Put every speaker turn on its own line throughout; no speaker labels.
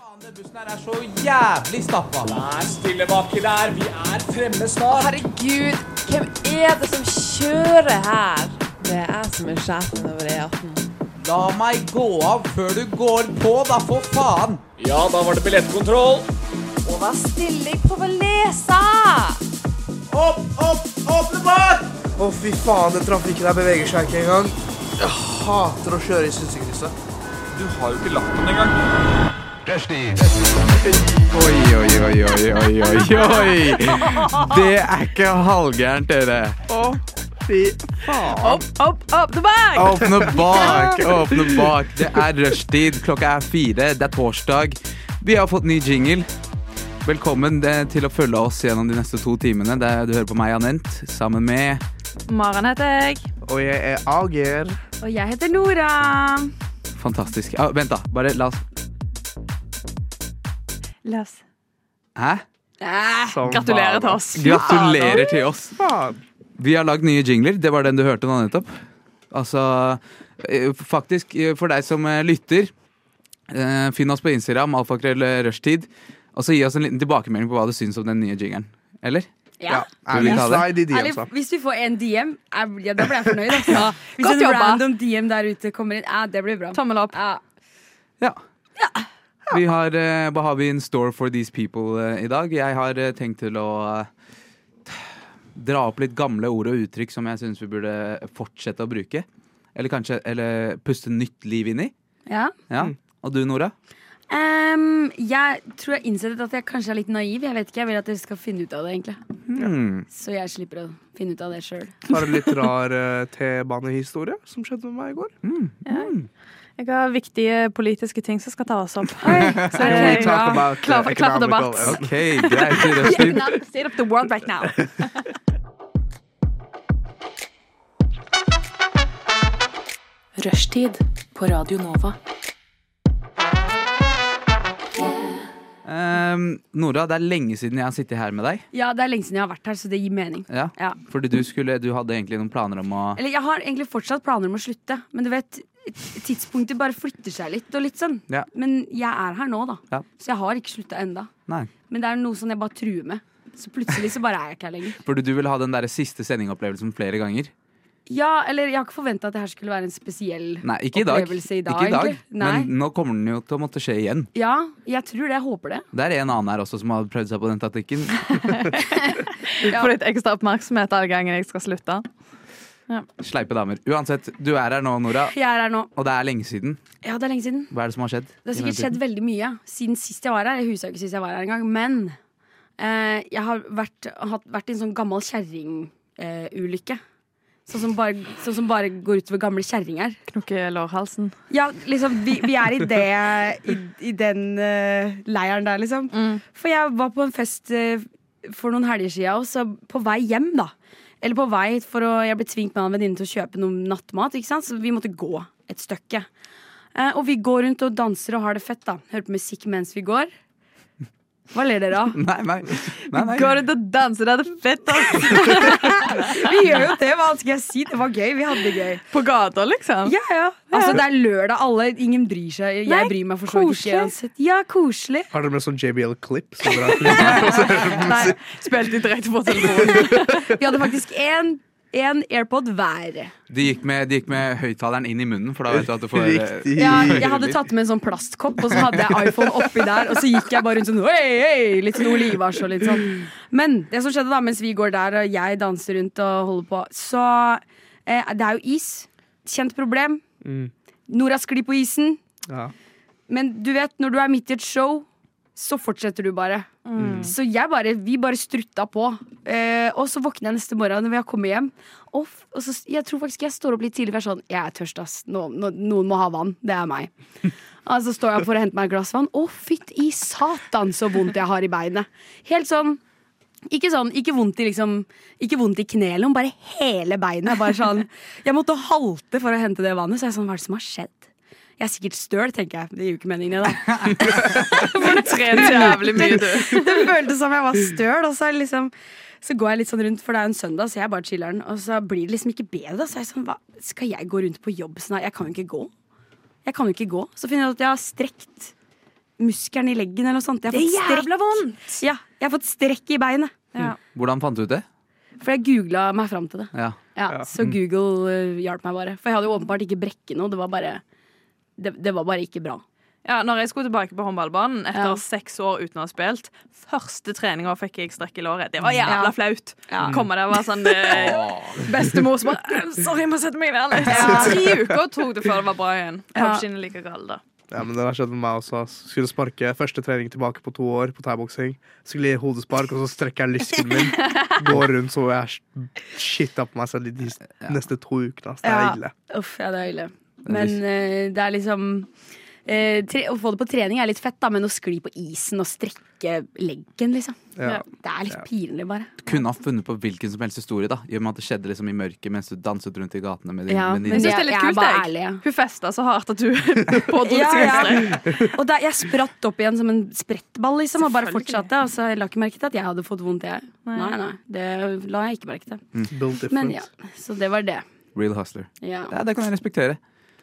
Faen, den bussen her er så jævlig stappa.
Vær stille baki der, vi er fremme snart.
Herregud, hvem er det som kjører her? Det er jeg som er sjefen over E18.
La meg gå av før du går på, da, for faen!
Ja, da var det billettkontroll.
Og vær stille, jeg prøver å lese!
Opp, opp, åpne bak!
Å, fy faen, den trafikken her beveger seg ikke engang. Jeg hater å kjøre i synsekrysset.
Du har jo ikke lappen engang.
Rushdie. Oi, oi, oi, oi, oi, oi, oi. Det er ikke halvgærent, dere. Å, fy faen.
Opp, opp, opp the bag!
Åpne bak, åpne bak. Det er rushtid. Klokka er fire. Det er torsdag. Vi har fått ny jingle. Velkommen eh, til å følge oss gjennom de neste to timene. Der du hører på meg, Anent, sammen med
Maren heter jeg.
Og jeg er Ager.
Og jeg heter Nora.
fantastisk ah, Vent, da. Bare la oss
La oss
Hæ?
Som
Gratulerer til oss.
Gratulerer til oss.
Faen.
Vi har lagd nye jingler. Det var den du hørte nå nettopp. Altså, eh, faktisk, eh, for deg som eh, lytter, eh, finn oss på Instagram, alfakrøll eh, rushtid, og så gi oss en liten tilbakemelding på hva du syns om den nye jingelen. Eller?
Ja.
Ja,
Vil
ærlig
vi ta det?
slide i de,
Ærlig,
altså.
hvis vi får en DM, jeg- ja, da blir jeg fornøyd. Altså. Hvis
Godt
en
jobba.
random DM der ute kommer inn, ja, det blir bra.
Tommel opp.
Ja.
Ja. Vi har, eh, hva har vi in store for these people eh, i dag? Jeg har eh, tenkt til å eh, dra opp litt gamle ord og uttrykk som jeg syns vi burde fortsette å bruke. Eller kanskje eller puste nytt liv inn i.
Ja.
Ja. Og du, Nora?
Em, jeg tror jeg innsett at jeg kanskje er litt naiv. Jeg vet ikke, jeg vil at dere skal finne ut av det, egentlig.
Hmm.
Så jeg slipper å finne ut av det sjøl.
Har en litt rar eh, T-banehistorie som skjedde med meg i går.
Jeg har viktige politiske ting som skal tas opp. Så
Can we
jeg
talk
er
about, eh,
klar for, klar for
economical-
debatt.
OK, greit. Rushtid.
State of the world right now.
Rushtid på Radio Nova.
Ehm, Nora, det er lenge siden jeg har sittet her med deg.
Ja, det er lenge siden jeg har vært her, så det gir mening.
Ja.
Ja.
Fordi du, skulle, du hadde egentlig noen planer om å
Eller jeg har egentlig fortsatt planer om å slutte, men du vet, tidspunktet bare flytter seg litt og litt sånn.
Ja.
Men jeg er her nå, da.
Ja.
Så jeg har ikke slutta enda.
Nei.
Men det er noe sånn jeg bare truer med. Så plutselig så bare er jeg ikke her lenger.
Fordi du ville ha den der siste sendingopplevelsen flere ganger.
Ja, eller jeg har ikke forventa at det her skulle være en spesiell
Nei, ikke i dag.
opplevelse i dag.
ikke i dag
egentlig. Nei.
Men nå kommer den jo til å måtte skje igjen.
Ja, jeg tror det. Jeg håper det.
Det er en annen her også som har prøvd seg på den taktikken.
Få litt ekstra oppmerksomhet all gangen jeg skal slutte.
Sleipe damer. Uansett, du er her nå, Nora,
Jeg er her nå.
og det er lenge siden.
Ja, det er lenge siden.
Hva er det som har skjedd?
Det har
i
sikkert
mellomtiden?
skjedd veldig mye siden sist jeg var her. Jeg husker ikke sist jeg var her engang. Men eh, jeg har vært, hatt, vært i en sånn gammel kjerringulykke. sånn, som bare- sånn som bare går utover gamle kjerringer.
Knukke lårhalsen.
Ja, liksom, vi, vi er i, det, i, i den eh, leiren der, liksom.
Mm.
For jeg var på en fest eh, for noen helger siden, og så på vei hjem, da. Eller på vei, for å, jeg ble tvingt med en venninne til å kjøpe noe nattmat, ikke sant? så vi måtte gå et stykke. Eh, og vi går rundt og danser og har det fett, da. Hører på musikk mens vi går. Hva ler dere av?
Nei, nei. nei, nei.
Går rundt og danser, det er fett ass.
Vi gjør jo det, hva annet skal jeg si? Det var gøy. Vi hadde det gøy.
På gata, liksom.
Ja, ja. Altså, det er lørdag, alle, ingen bryr seg. Jeg
Nei,
bryr meg for så vidt
koselig.
ikke uansett. Ja, koselig.
Har dere med sånn JBL-klipp? som dere har-
Nei, spilte direkte på telefonen.
Vi hadde faktisk én AirPod hver.
De gikk med, de gikk med høyttaleren inn i munnen, for da vet du at du får
Riktig.
Ja, jeg hadde tatt med en sånn plastkopp, og så hadde jeg iPhone oppi der. Og så gikk jeg bare rundt sånn hei, hei, litt sånn olivas og litt sånn. Men det som skjedde da, mens vi går der, og jeg danser rundt og holder på, så eh, Det er jo is. Kjent problem.
Mm.
Nora sklir på isen.
Ja.
Men du vet, når du er midt i et show, så fortsetter du bare. Så jeg bare, vi bare strutta på. Eh, og så våkner jeg neste morgen når jeg kommer hjem. Og, f- og så, jeg tror faktisk jeg står opp litt tidlig, for jeg er sånn Jeg er tørst, ass. Nå, nå, noen må ha vann. Det er meg. Og så står jeg opp for å hente meg et glass vann. Å, fytti satan, så vondt jeg har i beinet. Helt sånn ikke sånn, ikke vondt i liksom Ikke vondt i knelet, men bare hele beinet. Bare sånn, jeg måtte halte for å hente det vannet. Så jeg er sånn, hva er det som har skjedd? Jeg er sikkert støl, tenker jeg. Det gir jo ikke mening, det, da.
Trent jævlig mye, du.
Det føltes som jeg var støl. Og så, er det liksom, så går jeg litt sånn rundt, for det er jo en søndag, så jeg bare chiller den. Og så blir det liksom ikke bedre. da. Så jeg er sånn, hva, skal jeg gå rundt på jobb? Så nei, jeg kan jo ikke gå. Jeg kan jo ikke gå. Så finner jeg ut at jeg har strekt muskelen i leggen eller noe sånt. Jeg
Det
har
er
fått strekk,
jævla vondt!
ja, jeg har fått strekk i beinet.
Ja.
eh, Hvordan fant du ut det?
For jeg googla meg fram til det.
Ja.
Ja, Så Google eh, hjalp meg bare. For jeg hadde jo åpenbart ikke brekke noe. Det var bare, det, det var bare ikke bra.
Ja, når jeg skulle tilbake på håndballbanen etter
Ja.
seks år uten å ha spilt, første treninga fikk jeg strekk i låret. Det var jævla
Ja.
flaut. Komme der og være sånn eh, Bestemor som bare «Øh, Sorry, jeg må sette meg ned litt. Tre uker tok det før det var bra igjen.
Ja.
Kanskje ikke like galt, da.
Ja, men Det har skjedd med meg også. ass. Skulle sparke første trening tilbake på to år på thaiboksing. Skulle gi hodespark, og så strekker jeg lysken min. Går rundt så jeg skitta på meg selv de neste to ukene. ass. Det er
Ja.
ille.
Uff, ja, det er ille.
er
Men
litt-
eh, det er liksom eh, tre, Å få det på trening er litt fett, da, men å skli på isen og strekke leggen, liksom.
Ja.
Det er litt pinlig, bare.
Du kunne ha funnet på hvilken som helst historie, da. I og med at det skjedde liksom i mørket mens du danset rundt i gatene med din
Ja,
venninne.
men
Jeg syns det
jeg-
er litt
jeg er
kult,
bare
jeg.
ærlig, ja.
Hun festa så hardt at hun pådro
Ja,
seg en
ja.
strek.
Og da, jeg spratt opp igjen som en sprettball, liksom, og bare
Selvfølgelig.
fortsatte. Og så la ikke merke til at jeg hadde fått vondt, jeg.
Nei.
Nei, nei, det la jeg ikke merke til.
Built
Men
different.
ja, så det var det.
Real hustler.
Ja.
Ja, det kan jeg respektere.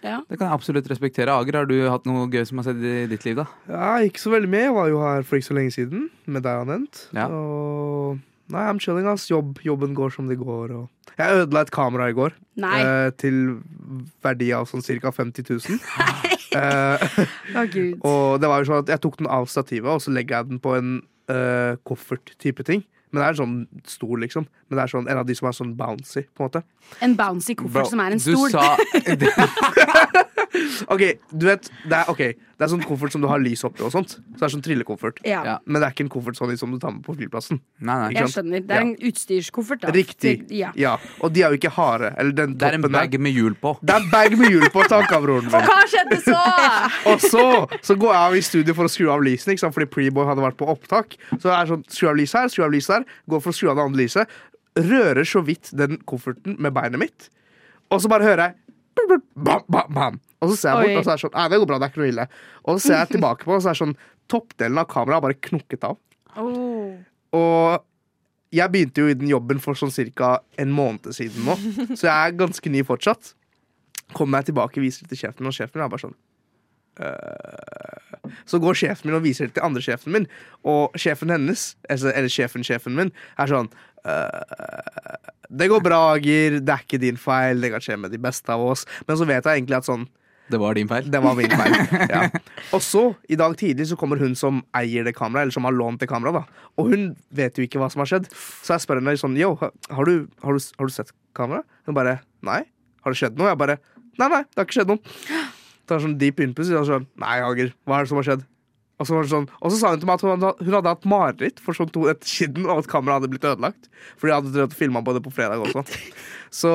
Ja.
Det kan jeg absolutt respektere. Ager, har du hatt noe gøy som har skjedd i ditt liv, da?
Ja, ikke så veldig med. Jeg var jo her for ikke så lenge siden med deg, Anent.
Ja.
Og nei, I'm chilling, ass. Jobb, jobben går som det går. Og... Jeg ødela et kamera i går
Nei.
eh, til verdi av sånn ca. 50 000. Eh,
Å, gud.
og det var jo sånn at jeg tok den av stativet, og så legger jeg den på en eh, koffert-type ting. Men det er sånn stor, liksom. Men det er sånn, en av de som er sånn bouncy, på en måte.
En bouncy
Bro,
koffert som er en
du
stol.
sa
Ok, du vet, det er, ok, det er sånn koffert som du har lys oppi og sånt. Så det er sånn trillekoffert.
Ja.
Ja.
Men det er ikke en koffert sånn som du tar med på flyplassen.
Nei, nei.
Jeg skjønner. Det er en utstyrskoffert. Da.
Riktig.
Til- Ja.
Ja. Og de er jo ikke harde. Eller den
Det er en
toppen der.
bag med hjul på.
Det er en bag med hjul på, takk av broren min.
Hva skjedde så?
Og så, så går jeg av i studio for å skru av lysene, ikke sant? fordi Preboy hadde vært på opptak. Så det er sånn, skru av lyset her, skru av lyset her, går for å skru av det andre lyset. Rører så vidt den kofferten med beinet mitt, og så bare hører jeg blub, blub, bam, bam, bam. Og så ser jeg bort,
Oi.
og så er det sånn, nei, det går bra, det er ikke noe ille. Og så ser jeg tilbake på, og så er det sånn, toppdelen av kameraet er bare knukket av. Og jeg begynte jo i den jobben for sånn cirka en måned siden nå, så jeg er ganske ny fortsatt. Kommer jeg tilbake og viser det til sjefen, min, og sjefen min er bare sånn «Øh». Så går sjefen min og viser det til andre sjefen min, og sjefen hennes, altså, eller sjefen sjefen min, er sånn «Øh, Det går bra, Agir. Det er ikke din feil. Det kan skje med de beste av oss. Men så vet jeg egentlig at sånn
Det var din feil.
det var min feil. Ja. Og så, i dag tidlig, så kommer hun som eier det kameraet, eller som har lånt det kameraet, da. Og hun vet jo ikke hva som har skjedd. Så jeg spør henne sånn, yo, har du, har du, har du sett kameraet? Hun bare, nei. Har det skjedd noe? Jeg bare, nei, nei, det har ikke skjedd noe. Tar sånn deep innpuss, og sånn, nei, Hager, hva er det som har skjedd? Og så, var det sånn, og så sa hun til meg at hun hadde, hun hadde hatt mareritt for sånn to etter siden, og at kameraet hadde blitt ødelagt. Fordi jeg hadde drevet og filma på det på fredag også. Så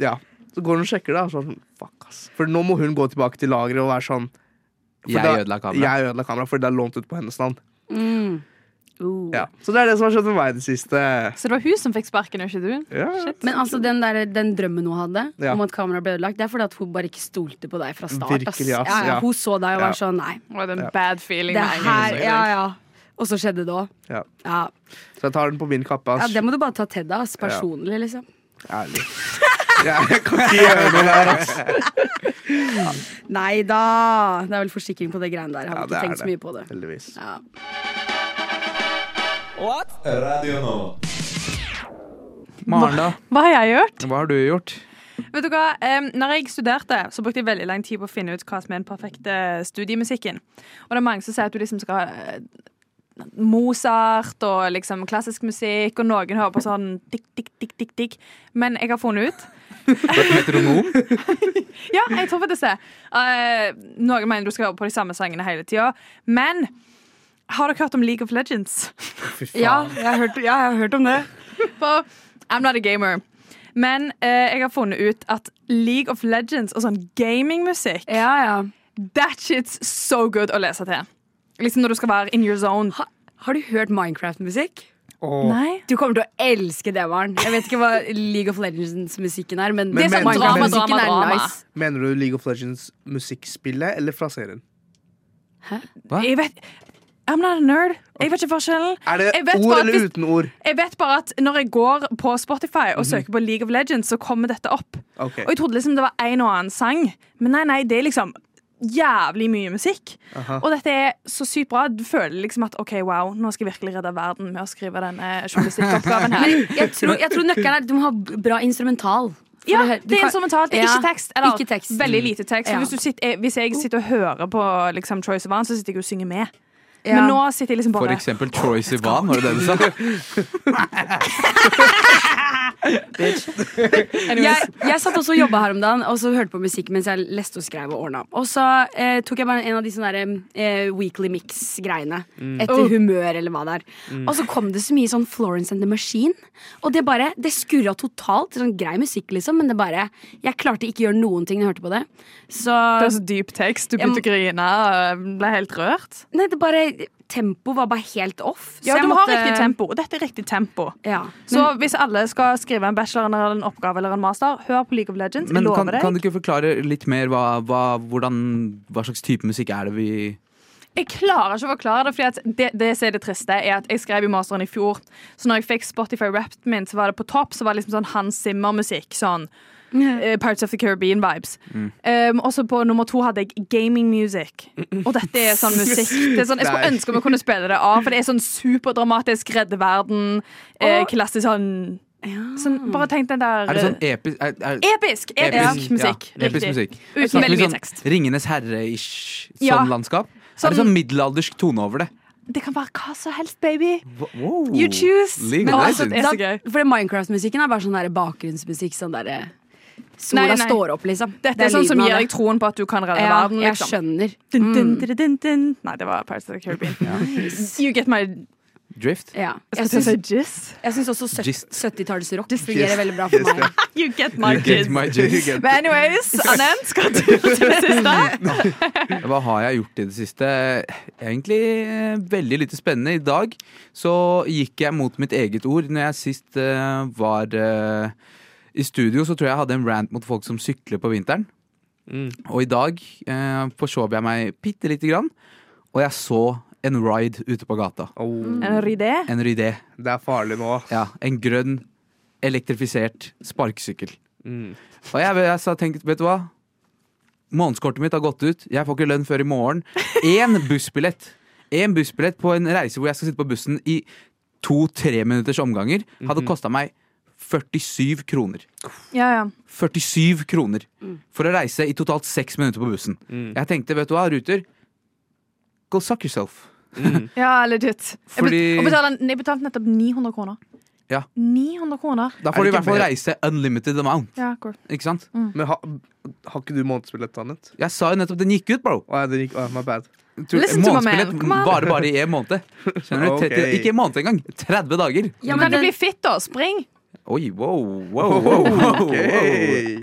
ja. Så går hun og sjekker det. Og så er hun sånn, fuck ass For nå må hun gå tilbake til lageret og være sånn for
Jeg
det-
ødela kameraet.
Jeg ødela kameraet fordi det er lånt ut på hennes navn.
Mm. Uh.
Ja. Så det er det som har skjedd med meg i det siste.
Så det var hun som fikk sparken, og ikke du?
Ja.
Men altså, den, der, den drømmen hun hadde
Ja.
om at kameraet ble ødelagt, det er fordi at hun bare ikke stolte på deg fra start. ass.
Virkelig, ass,
Ja, ja.
ja.
Hun så deg og
Ja.
var sånn nei.
Det var en
Ja.
bad feeling.
Det
med en gang
her,
hun så
ja,
deg.
ja. Og så skjedde det òg.
Ja.
Ja.
Så jeg tar den på min kappe.
ja,
Ass.
det må du bare ta til deg, ass. Personlig, liksom.
Ærlig. Ja, jeg kan ikke gjøre noe der, ass.
Nei da! Det er vel forsikring på det greiene der. Jeg
Ja,
har ikke
det er
tenkt så
det.
mye på det.
Heldigvis.
Ja.
Radio Nova.
Maren, da?
Hva har jeg gjort?
Hva har du gjort?
Vet du hva? Um, når jeg studerte, så brukte jeg veldig lang tid på å finne ut hva som er den perfekte studiemusikken. Og det er mange som sier at du liksom skal ha eh, Mozart og liksom klassisk musikk, og noen hører på sånn tikk, tikk, tikk, tikk, tikk. Men jeg har funnet ut
Metronom?
Ja, jeg tror faktisk det. Eh, noen mener du skal høre på de samme sangene hele tida, men har dere hørt om League of Legends?
Ja, jeg har hørt, ja, jeg har hørt om det.
For I'm not a gamer. Men eh, jeg har funnet ut at League of Legends og sånn gamingmusikk
Ja, ja.
That shit's so good å lese til. Liksom når du skal være in your zone.
Ha, har du hørt Minecraft-musikk?
Og,
Nei.
Du kommer til å elske det, Maren. Jeg vet ikke hva League of Legends-musikken er, men,
Men-
det er
men-
sånn
drama,
musikken
drama, drama.
er nice.
Mener du League of Legends musikkspillet eller fra serien?
Jeg vet I'm not a nerd. Jeg vet ikke forskjellen.
Er det
Jeg vet
ord
bare
eller
hvis-
uten ord?
Jeg vet bare at når jeg går på Spotify
Mhm.
og søker på League of Legends, så kommer dette opp.
Ok.
Og jeg trodde liksom det var en og annen sang, men nei, nei, det er liksom jævlig mye musikk.
Aha.
Og dette er så sykt bra. Du føler liksom at OK, wow, nå skal jeg virkelig redde verden med å skrive denne journalistikkoppgaven her.
Jeg tror, jeg tror nøkkelen er at du må ha b- bra instrumental. For
Ja,
du hø- du
det er
kan-
instrumentalt, det er
Ja,
ikke tekst. Mm. Eller
ikke tekst.
veldig lite tekst. Så
Ja.
Hvis, du sitter, eh, hvis jeg sitter og hører på liksom, Troye Sivan, så sitter jeg og synger med.
Ja.
Men nå sitter jeg liksom
For
bare
eksempel Troy Sivan, var det det du sa?
jeg, jeg satt også og jobba her om dagen og så hørte på musikk mens jeg leste og skrev. Og ordna Og så eh, tok jeg bare en av de sånne der, eh, Weekly Mix-greiene.
Oh.
Etter humør eller hva det er. Og så kom det så mye sånn Florence and the Machine. Og det bare, det skurra totalt. Sånn grei musikk, liksom, men det bare Jeg klarte ikke å gjøre noen ting når jeg hørte på det. Så
Det er så dyp tekst. Du begynte å grine og ble helt rørt.
Nei, det bare Tempoet var bare helt off.
Ja,
så jeg
du må ha
måtte-
riktig tempo. Og dette er riktig tempo.
Ja.
Så hvis alle skal skrive en bachelor eller en oppgave eller en master, hør på League of Legends. Jeg
Men kan,
lover deg.
kan du ikke forklare litt mer hva, hva, hvordan, hva slags type musikk er det vi
Jeg klarer ikke å forklare det, fordi at det, det som er det triste, er at jeg skrev jo masteren i fjor. Så når jeg fikk Spotify-rappen min, så var det på topp, så var det liksom sånn Hans Zimmer-musikk. Sånn eh, Parts of the Caribbean-vibes.
Mm.
Um, og så på nummer to hadde jeg gaming music. Og dette er sånn musikk. Det er sånn, jeg skulle
Nei.
ønske vi kunne spille det av, for det er sånn superdramatisk, redde verden, eh, klassisk sånn, sånn Bare tenk den der
Er det sånn
eh,
episk er, er,
Episk! e- Episk,
Episk, ja.
musikk.
Episk
Riktig.
musikk.
Uten
Snakker vi
veldig mye
sånn
tekst.
Ringenes herre-ish sånn
Ja.
landskap?
Sånn-
Er det sånn middelaldersk tone over det?
Det kan være hva som helst, baby.
Wow.
You choose.
League
Men
of
altså,
Legends.
det er så
Da,
gøy.
for det Minecraft-musikken er bare sånn der bakgrunnsmusikk. Sånn der, eh, sola
Nei, nei.
står opp, liksom.
Dette er, sånn
lyden
som
av
gir
det.
deg troen på at du kan redde
ja,
verden.
jeg
Liksom.
skjønner. Mm.
Dun, dun, dun, dun, dun. Nei, det var Pirates of the Caribbean. You get my sånn-
Drift?
Ja.
Jeg
Jeg
skulle
syns,
si jizz.
jeg syns også sytt-
Gist.
70-tallsrock
Gist.
fungerer veldig bra for meg.
You get my
You get
jizz.
my jizz.
Men anyways, Annen, skal du til det siste?
Hva har jeg gjort i det siste? Egentlig eh, veldig lite spennende. I dag så gikk jeg mot mitt eget ord. Når jeg sist eh, var eh, i studio, så tror jeg jeg hadde en rant mot folk som sykler på vinteren.
Mm.
Og i dag uh, forsov jeg meg bitte lite grann, og jeg så en ride ute på gata.
Åh,
En rydé.
En rydé.
det er farlig nå. ass.
Ja, en grønn, elektrifisert sparkesykkel.
Mm.
Og jeg, jeg sa, tenkte, vet du hva? Månedskortet mitt har gått ut. Jeg får ikke lønn før i morgen. Én bussbillett En bussbillett på en reise hvor jeg skal sitte på bussen i to-tre minutters omganger,
Mhm.
hadde kosta meg 47 kroner.
Ja, ja.
47 kroner
Mm.
for å reise i totalt seks minutter på bussen. Jeg tenkte, vet du hva, Ruter, go suck yourself.
mm.
ja legit. Jeg,
Fordi-
bet- og betaler, jeg betalte nettopp 900 kroner.
Ja.
900 kroner.
Da
Er
får du i hvert
det ikke
fall
bedre?
reise unlimited amount.
Ja, cool.
Ikke sant?
Men ha, har ikke du månedsbillett, Annet?
Jeg sa jo nettopp den gikk ut, bro.
Å, ja, det gikk, å, my bad.
Tror-
Listen to my man.
Månedsbillett
Come on.
varer bare i en måned. Skjønner du?
Ok.
30, Ikke en måned engang. 30 dager.
Ja,
kan
men
du bli
det,
fit, da? Spring!
Oi, wow, wow, wow, wow, wow.
Hey.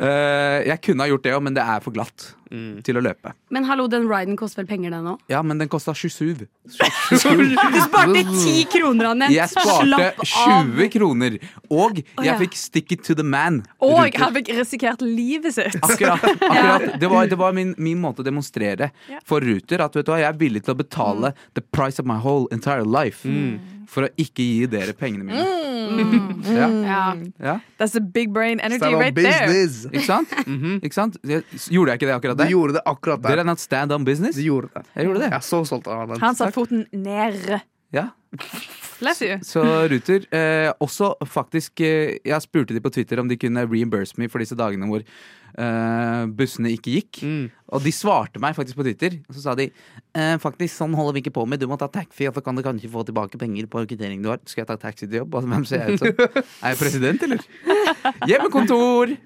Eh, jeg kunne ha gjort det òg, men det er for glatt
Mm.
til å løpe.
men hallo, den riden koster vel penger, den òg?
Ja, men den kosta 27.
Du sparte ti kroner, Anette!
Jeg sparte 20 kroner, og jeg
ja.
fikk stick it to the man.
Og
Ruter.
han fikk risikert livet sitt.
Akkurat. akkurat. Det var, det var min, min måte å demonstrere for Ruter at vet du hva, jeg er villig til å
Mm.
betale the price of my whole entire life
Mm.
for å ikke gi dere pengene
Mm.
mine.
Mm.
Ja,
Ja.
ja.
That's a big brain energy
Stand on
right there.
business.
Ikke sant? ikke sant? Jeg, Mhm. gjorde jeg ikke det akkurat
Du
der?
gjorde det akkurat
Did I
der.
not stand on business?
Du gjorde det.
Jeg gjorde
Jeg
det.
er så stolt av Annet.
Han satte foten ned.
Ja.
Bless you.
Så Ruter eh, Også faktisk eh, Jeg spurte de på Twitter om de kunne reimburse me for disse dagene hvor eh, bussene ikke gikk.
Mm.
Og de svarte meg faktisk på Twitter. Og så sa de eh, faktisk sånn holder vi ikke på med, du må ta taxi, og så kan du kanskje få tilbake penger på kvitteringen du har. Skal jeg ta taxi til jobb? Altså, hvem ser jeg ut som? Er jeg president, eller? Hjemmekontor!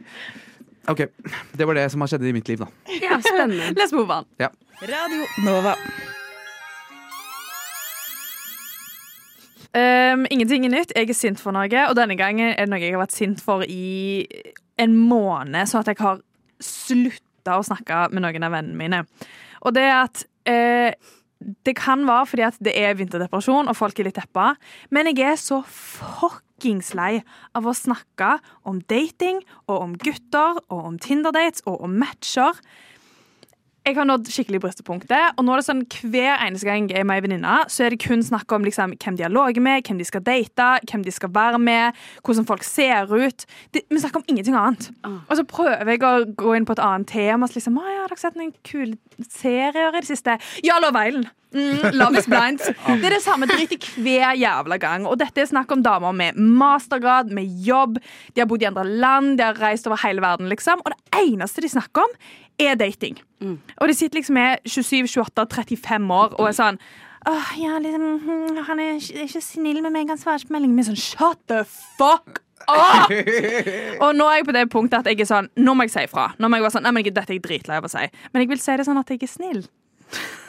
Ok. Det var det som har skjedd i mitt liv, da.
ja, spennende.
Let's move on.
Ja.
Radio Nova. Um, ingenting er nytt. Jeg er sint for noe, og denne gangen er det noe jeg har vært sint for i en måned, sånn at jeg har slutta å snakke med noen av vennene mine. Og det er at eh, Det kan være fordi at det er vinterdepresjon, og folk er litt deppa, men jeg er så fuckings lei av å snakke om dating og om gutter og om Tinder-dates og om matcher jeg har nådd skikkelig bristepunktet. Og nå er det sånn hver eneste gang jeg er med ei venninne, så er det kun snakk om liksom, hvem de har ligget med, hvem de skal date, hvem de skal være med, hvordan folk ser ut. Det, vi snakker om ingenting annet. Og så prøver jeg å gå inn på et annet tema. Så liksom, «Å, ja, har dere sett noen kule serier i det siste? Ja, Love Island. Mm, Love is blind. Det er det samme dritet hver jævla gang. Og dette er snakk om damer med mastergrad, med jobb, de har bodd i andre land, de har reist over hele verden, liksom. Og det eneste de snakker om, er dating. Og de sitter liksom med 27, 28, 35 år og er sånn Åh, ja, liksom, hm, Han er ikke, er ikke snill med meg, han svarer ikke på meldingen min. Sånn, shut the fuck up! Og nå er jeg på det punktet at jeg er sånn Nå må jeg si ifra. Nå må jeg være sånn, nei, men dette er jeg dritlei av å si. Men jeg vil si det sånn at jeg er snill.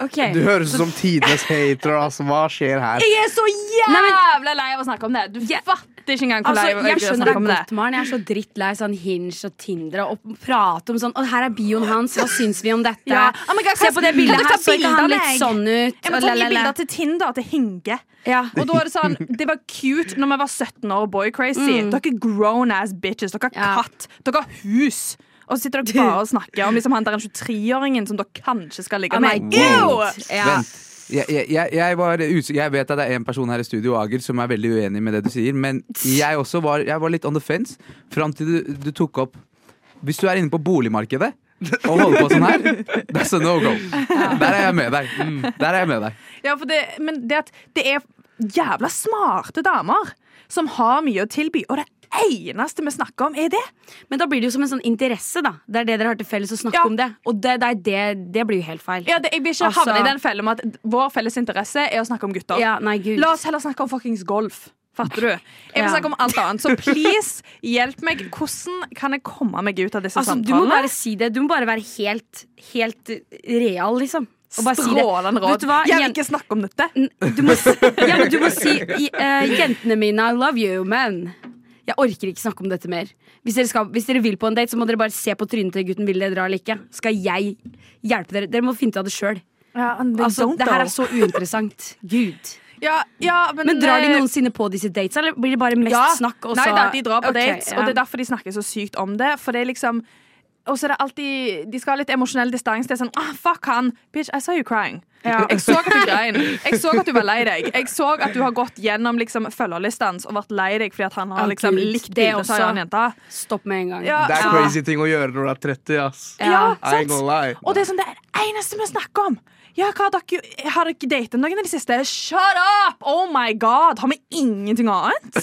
Du høres ut som tidenes hater. Altså. Hva skjer her?
Jeg er så jævla lei av å snakke om det. Du
Ja.
fatter ikke engang hvor
Altså,
lei
jeg
er å
skjønner deg
snakke om det.
godt, Maren. Jeg er så drittlei sånn Hinge og Tinder og å prate om sånn Og her er bioen hans, hva syns vi om dette?
Ja. Oh my God,
Se
kan-
på det
kan
bildet
dere ta
her, så ikke han
bilder av
litt
meg?
sånn ut?
Jeg må
og
ta gi
la, la, la.
bilder til Tinder, til Hinge.
Ja.
Og da er det sånn, det var cute når vi var 17 år og boy-crazy. Dere er grown-ass bitches. Dere har
Ja.
katt. Dere har hus. Og så sitter dere bare og snakker om liksom han der 23-åringen som dere kanskje skal ligge
Oh my
med. Ew!
God. Ja.
Vent. Jeg, jeg, jeg, jeg, var us jeg vet at det er en person her i studio, Ager, som er veldig uenig med det du sier. Men jeg også var, jeg var litt on the fence fram til du, du tok opp Hvis du er inne på boligmarkedet og holder på sånn her, that's a no go. Der er jeg med deg. Mm, Der er jeg med deg.
Ja, for det, men det at det er jævla smarte damer som har mye å tilby, og det eneste vi snakker om, er det.
Men da blir det jo som en sånn interesse, da. Det er det dere har til felles å snakke
Ja.
om det. Og det, det, er det, det blir jo helt feil.
Ja, det jeg vil ikke
Altså-
havne i den fellen med at vår felles interesse er å snakke om gutter.
Ja, nei, gud.
La oss heller snakke om fuckings golf. Fatter du? Jeg vil
Ja.
snakke om alt annet. Så please, hjelp meg. Hvordan kan jeg komme meg ut av disse
altså, du må
samtalene?
bare si det. Du må bare være helt, helt real, liksom. Og bare si det.
Strålende råd.
Vet du hva?
Jeg
Jen-
vil ikke snakke om dette.
N- Du må, si- ja, men du må si i- eh, 'Jentene mine, I love you, men jeg orker ikke snakke om dette mer'. Hvis dere, skal, hvis dere vil på en date, så må dere bare se på trynet til gutten. Vil dere dra eller ikke? Skal jeg hjelpe dere? Dere må finne ut av det sjøl. Altså, det her er så uinteressant. Gud.
ja, ja, men,
Men drar de
eh,
noensinne på disse dates, eller blir det bare mest
ja.
snakk? Og
Nei
så,
da, de drar på
Ok,
dates, og
ja.
det er derfor de snakker så sykt om det. For det er liksom Og så er det alltid De skal ha litt emosjonell distanse. Det er sånn ah, fuck han. Bitch, I saw you crying. Jeg så at du grein. Jeg så at du var lei deg. Jeg så at du har gått gjennom liksom, følgerlistene og vært lei deg fordi at han har
Å,
liksom,
Gud,
likt
det
bildet av
også.
en annen jente.
Stopp med en gang.
Ja,
Det er
ja.
crazy ting å gjøre når du er 30, ass.
Ja,
I ain't
sant?
gonna lie.
Og det er sånn, det er det eneste vi snakker om. Ja, hva har dere, har dere datet noen i det siste? Shut up! Oh my god! Har vi ingenting annet?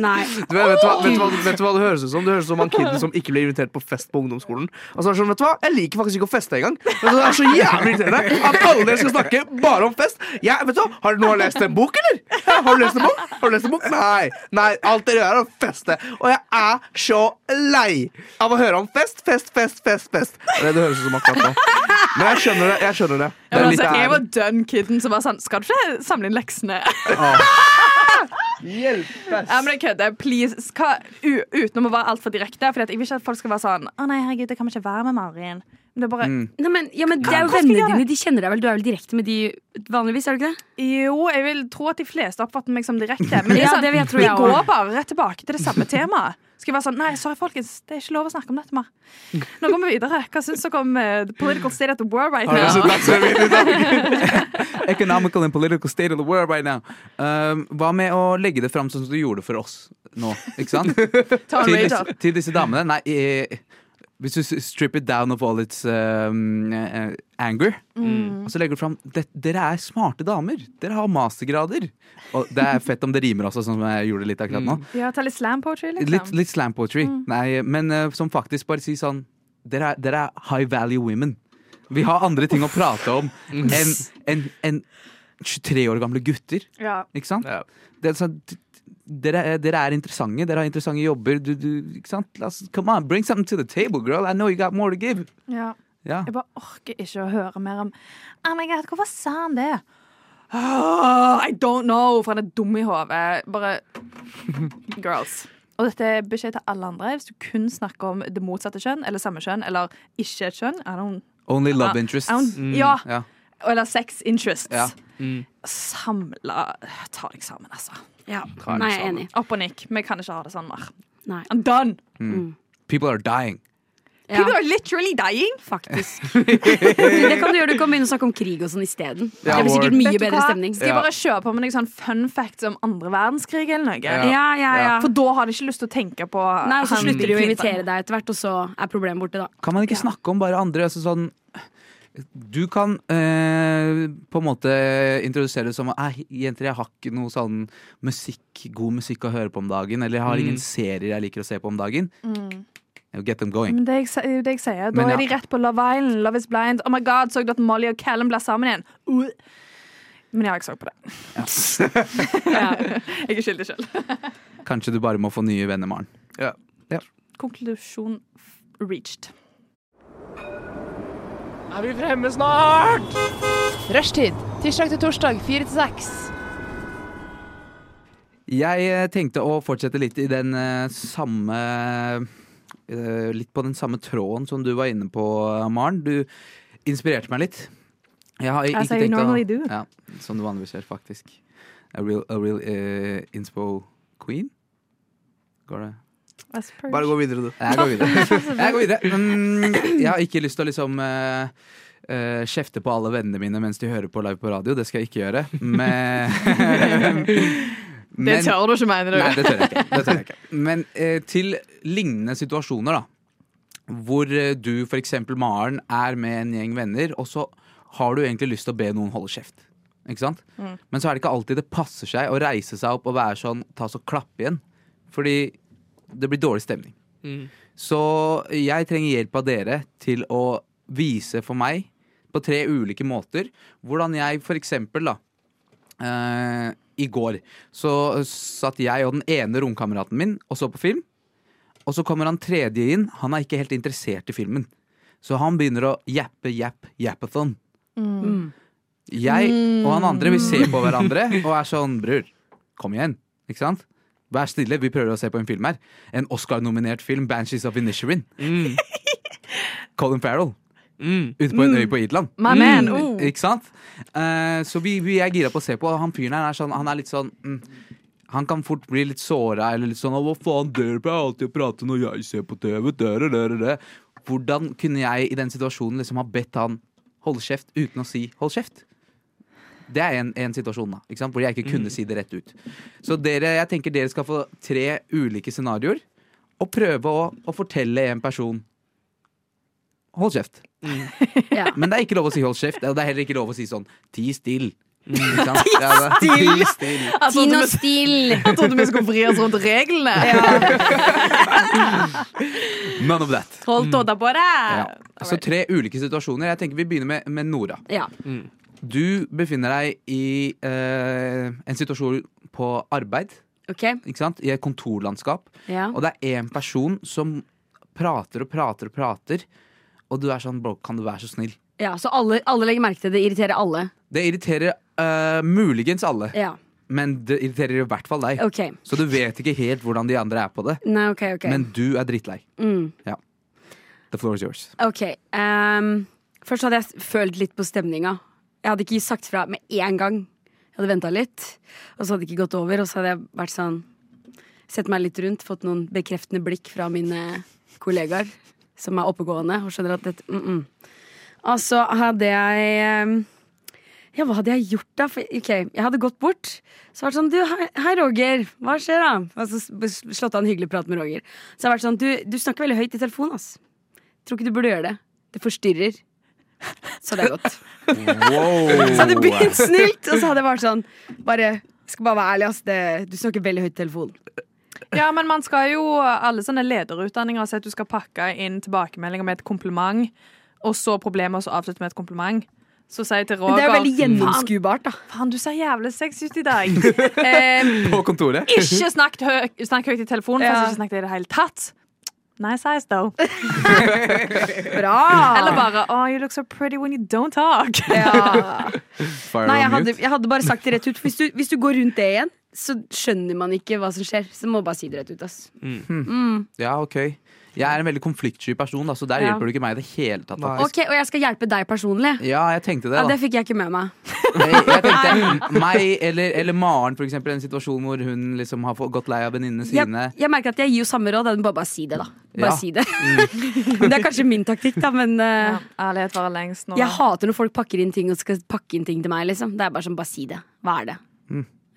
Nei.
Du vet, vet, du hva, vet, du hva, vet du hva det høres ut som? Det høres ut som han kiden som ikke ble invitert på fest på ungdomsskolen. Og så er det sånn, vet du hva, Jeg liker faktisk ikke å feste engang. Vet du hva, Det er så jævlig irriterende at alle dere skal snakke bare om fest. Jeg, vet du hva, Har du nå lest en bok, eller? Hæ, Har du lest en bok? Har du lest en bok? Nei. Nei, Alt dere gjør, er å feste. Og jeg er så lei av å høre om fest, fest, fest, fest. fest. Det er det det høres ut som akkurat nå. Men jeg skjønner det. jeg skjønner det. Det
Men
er
altså,
litt
jeg
ærlig.
var done kidden som var sånn Skal du ikke samle inn leksene? Ja, men jeg kødder. Please. Hva, u, uten å være altfor direkte. For jeg vil ikke at folk skal være sånn Å nei, herregud, jeg kan ikke være med Marin. Men det er bare
Mm.
Nei, men, ja, men det er jo
Hva skal jeg
vennene
gjøre?
dine. De kjenner deg vel? Du er vel direkte med de vanligvis? er du ikke det?
Jo, jeg vil tro at de fleste oppfatter meg som direkte. Men det er
Ja,
sånn,
det vil jeg tro
vi
jeg
går
også.
bare rett tilbake til det samme temaet. Skal jeg være sånn Nei, sorry, folkens. Det er ikke lov å snakke om dette mer. Nå går vi videre. Hva syns dere om eh, the political state of the world right
Har du
Altså,
sett
now?
Dagsrevyen i dag?
Economical and political state of the world right now. Um, hva med å legge det fram sånn som du gjorde for oss nå? Ikke sant?
Tom
til,
Raider.
disse, til disse damene. Nei, eh, hvis du s- strip it down of all its um, eh, anger,
Mm.
og så legger du fram det, Dere er smarte damer. Dere har mastergrader. Og det er fett om det rimer også, sånn som jeg gjorde litt akkurat nå.
Ja, ta litt slam poetry, liksom.
Mm. Litt, litt slam poetry. Nei, men eh, som faktisk bare sier sånn Dere er, dere er high value women. Vi har andre ting å prate om enn enn- enn 23 år gamle gutter.
Ja.
Ikke sant?
Ja.
Det er sånn, d- d- dere, er- dere er interessante, dere har interessante jobber. Du, du, ikke sant? La oss, come on, bring something to the table, girl. I know you got more to give.
ja.
Ja.
Jeg bare orker ikke å høre mer om Oh my god, hvorfor sa han det? Ah, I don't know, for han er dum i hodet. Bare Girls. Og dette er beskjed til alle andre. Hvis du kun snakker om det motsatte kjønn, eller samme kjønn, eller ikke et kjønn I don't,
Only love
I-
interests.
I don't, Ja.
Ah.
Ja.
Eller sex interests.
Ja.
Samla Ta deg sammen, altså.
Ja. Nei, jeg er enig.
Opp og nikk. Vi kan ikke ha det sånn mer.
Nei.
I'm done!
People are dying.
Ja.
People are literally dying.
Faktisk. det kan du gjøre. Du kan begynne å snakke om krig og sånn isteden. Det
Ja,
blir sikkert
word.
mye
Vet du
bedre
hva?
stemning.
Skal jeg bare kjøre på med noen sånn fun facts om andre verdenskrig eller noe?
Ja, ja, ja.
For da har de ikke lyst til å tenke på
Nei, og så
han-
slutter de å invitere deg etter hvert, og så er problemet borte, da.
Kan man ikke snakke om bare andre? Altså sånn du kan eh, på en måte introdusere det som at jenter, jeg har ikke noe sånn musikk, god musikk å høre på om dagen. Eller jeg har
Mm.
ingen serier jeg liker å se på om dagen. Get them going.
Men det, er jeg, det er jo det jeg sier. Da
Men ja.
er de rett på Love Island, Love is Blind. Oh my god, Så du at Molly og Callum ble sammen igjen? Uh. Men jeg har ikke så på det. Jeg er skyldig sjøl.
Mm.
Kanskje du bare må få nye venner, Maren.
Konklusjon f- reached.
Rushtid. Tirsdag til torsdag, fire til seks.
Jeg eh, tenkte å fortsette litt i den eh, samme eh, Litt på den samme tråden som du var inne på, eh, Maren. Du inspirerte meg litt. Jeg har ikke
As I
tenkt
normally
å
do.
Ja, Som du vanligvis gjør, faktisk. A real, a real eh, inspo queen. Går det?
Bare gå videre, du.
Jeg går videre. Jeg, går videre. Mm, jeg har ikke lyst til å liksom eh, eh, kjefte på alle vennene mine mens de hører på live på radio. Det skal jeg ikke gjøre. Men, men
du ikke, mener
Nei, det tør jeg ikke. Det tør jeg ikke. Men eh, til lignende situasjoner, da. Hvor eh, du f.eks. Maren er med en gjeng venner, og så har du egentlig lyst til å be noen holde kjeft. Ikke sant? Men så er det ikke alltid det passer seg å reise seg opp og være sånn, ta så klappe igjen. Fordi det blir dårlig stemning. Så jeg trenger hjelp av dere til å vise for meg på tre ulike måter hvordan jeg for eksempel da eh, I går så satt jeg og den ene romkameraten min og så på film. Og så kommer han tredje inn. Han er ikke helt interessert i filmen. Så han begynner å jappe, japp, jappathon. Jeg og han andre vi ser på hverandre og er sånn Bror, kom igjen. Ikke sant? Vær stille, vi prøver å se på en film her. En Oscar-nominert film, 'Banshees of Inisherin'. Colin Farrell. Ute på en øy på Irland.
Mm.
My man, oh.
Ikke sant? Eh, så vi, vi er gira på å se på. og Han fyren her er, sånn, han er litt sånn mm, Han kan fort bli litt såra eller litt sånn «Å, 'Hva faen, dere pleier alltid å prate når jeg ser på TV.' Dere, dere, dere. Hvordan kunne jeg i den situasjonen liksom ha bedt han holde kjeft uten å si 'hold kjeft'? Det er en, en situasjon da, ikke sant? hvor jeg ikke kunne si det rett ut. Så dere, jeg tenker dere skal få tre ulike scenarioer, og prøve å, å fortelle en person Hold kjeft.
Ja.
Men det er ikke lov å si hold kjeft, og det er heller ikke lov å si sånn ti still. Ikke sant? Ja, det- Mm. Ti still!
Oh.
Tinn og still!
Jeg trodde vi skulle vri oss rundt reglene.
None of that.
Troll Dodda på det!
Ja. Så tre ulike situasjoner. Jeg tenker Vi begynner med, med Nora.
Ja.
Du befinner deg i eh, en situasjon på arbeid,
OK?
ikke sant? i et kontorlandskap.
Ja.
Og det er én person som prater og prater og prater, og du er sånn Bro, kan du være så snill?
ja så alle, alle legger merke til det. Det irriterer alle.
Det irriterer eh, muligens alle,
Ja.
men det irriterer i hvert fall deg.
OK.
Så du vet ikke helt hvordan de andre er på det,
Nei, OK, OK.
men du er drittlei.
mm.
The floor is yours.
Ok, ehm, Først hadde jeg følt litt på stemninga. Jeg hadde ikke sagt fra med en gang. Jeg hadde venta litt, og så hadde det ikke gått over. Og så hadde jeg vært sånn Sett meg litt rundt, fått noen bekreftende blikk fra mine kollegaer som er oppegående og skjønner at dette mm -mm. Altså hadde jeg ehm, Ja, hva hadde jeg gjort da? For, ok, Jeg hadde gått bort. Så vært sånn, du, hei, hei Roger, hva skjer da? Og så s- s- slått av en hyggelig prat med Roger. Så jeg har vært sånn, du, du snakker veldig høyt i telefonen, ass. Tror ikke du burde gjøre det. Det forstyrrer. Så det er godt. Så hadde det begynt snilt, og så hadde jeg vært sånn bare, jeg Skal bare være ærlig, ass. Det, du snakker veldig høyt i telefonen.
Ja, men man skal jo Alle sånne lederutdanninger sier at du skal pakke inn tilbakemeldinger med et kompliment, og så problemet, og så avslutte med et kompliment. Så sier jeg til
Men det er jo
Roger
veldig gjennomskuebart, da.
Faen, du ser jævlig sexy ut i dag. eh,
På kontoret.
ikke snakk, hø snakk høyt i telefonen, for
Ja.
ikke snakk i det hele tatt. Nice eyes, though.
Bra!
Eller bare Oh, you look so pretty when you don't talk.
ja.
Fire
Nei, jeg
on
hadde,
mute.
jeg hadde bare sagt det rett ut. for Hvis du, hvis du går rundt det igjen, så skjønner man ikke hva som skjer. Så må man bare si det rett ut, ass.
Ja, ok. Jeg er en veldig konfliktsky person, da, så der
Ja.
hjelper du ikke meg i det hele tatt.
Nei.
faktisk.
Ok, Og jeg skal hjelpe deg personlig?
Ja, jeg tenkte det,
Ja,
da.
Det fikk jeg ikke med meg.
Jeg, jeg tenkte meg eller, eller Maren, for eksempel, i en situasjon hvor hun liksom har fått- gått lei av venninnene sine.
Jeg, jeg merker at jeg gir jo samme råd. jeg må Bare, bare si det, da. Bare
Ja.
si det. det er kanskje min taktikk, da, men eh,
Ja, ærlighet varer lengst nå.
jeg hater når folk pakker inn ting og skal pakke inn ting til meg. liksom Det er bare sånn, bare si det. Hva er det?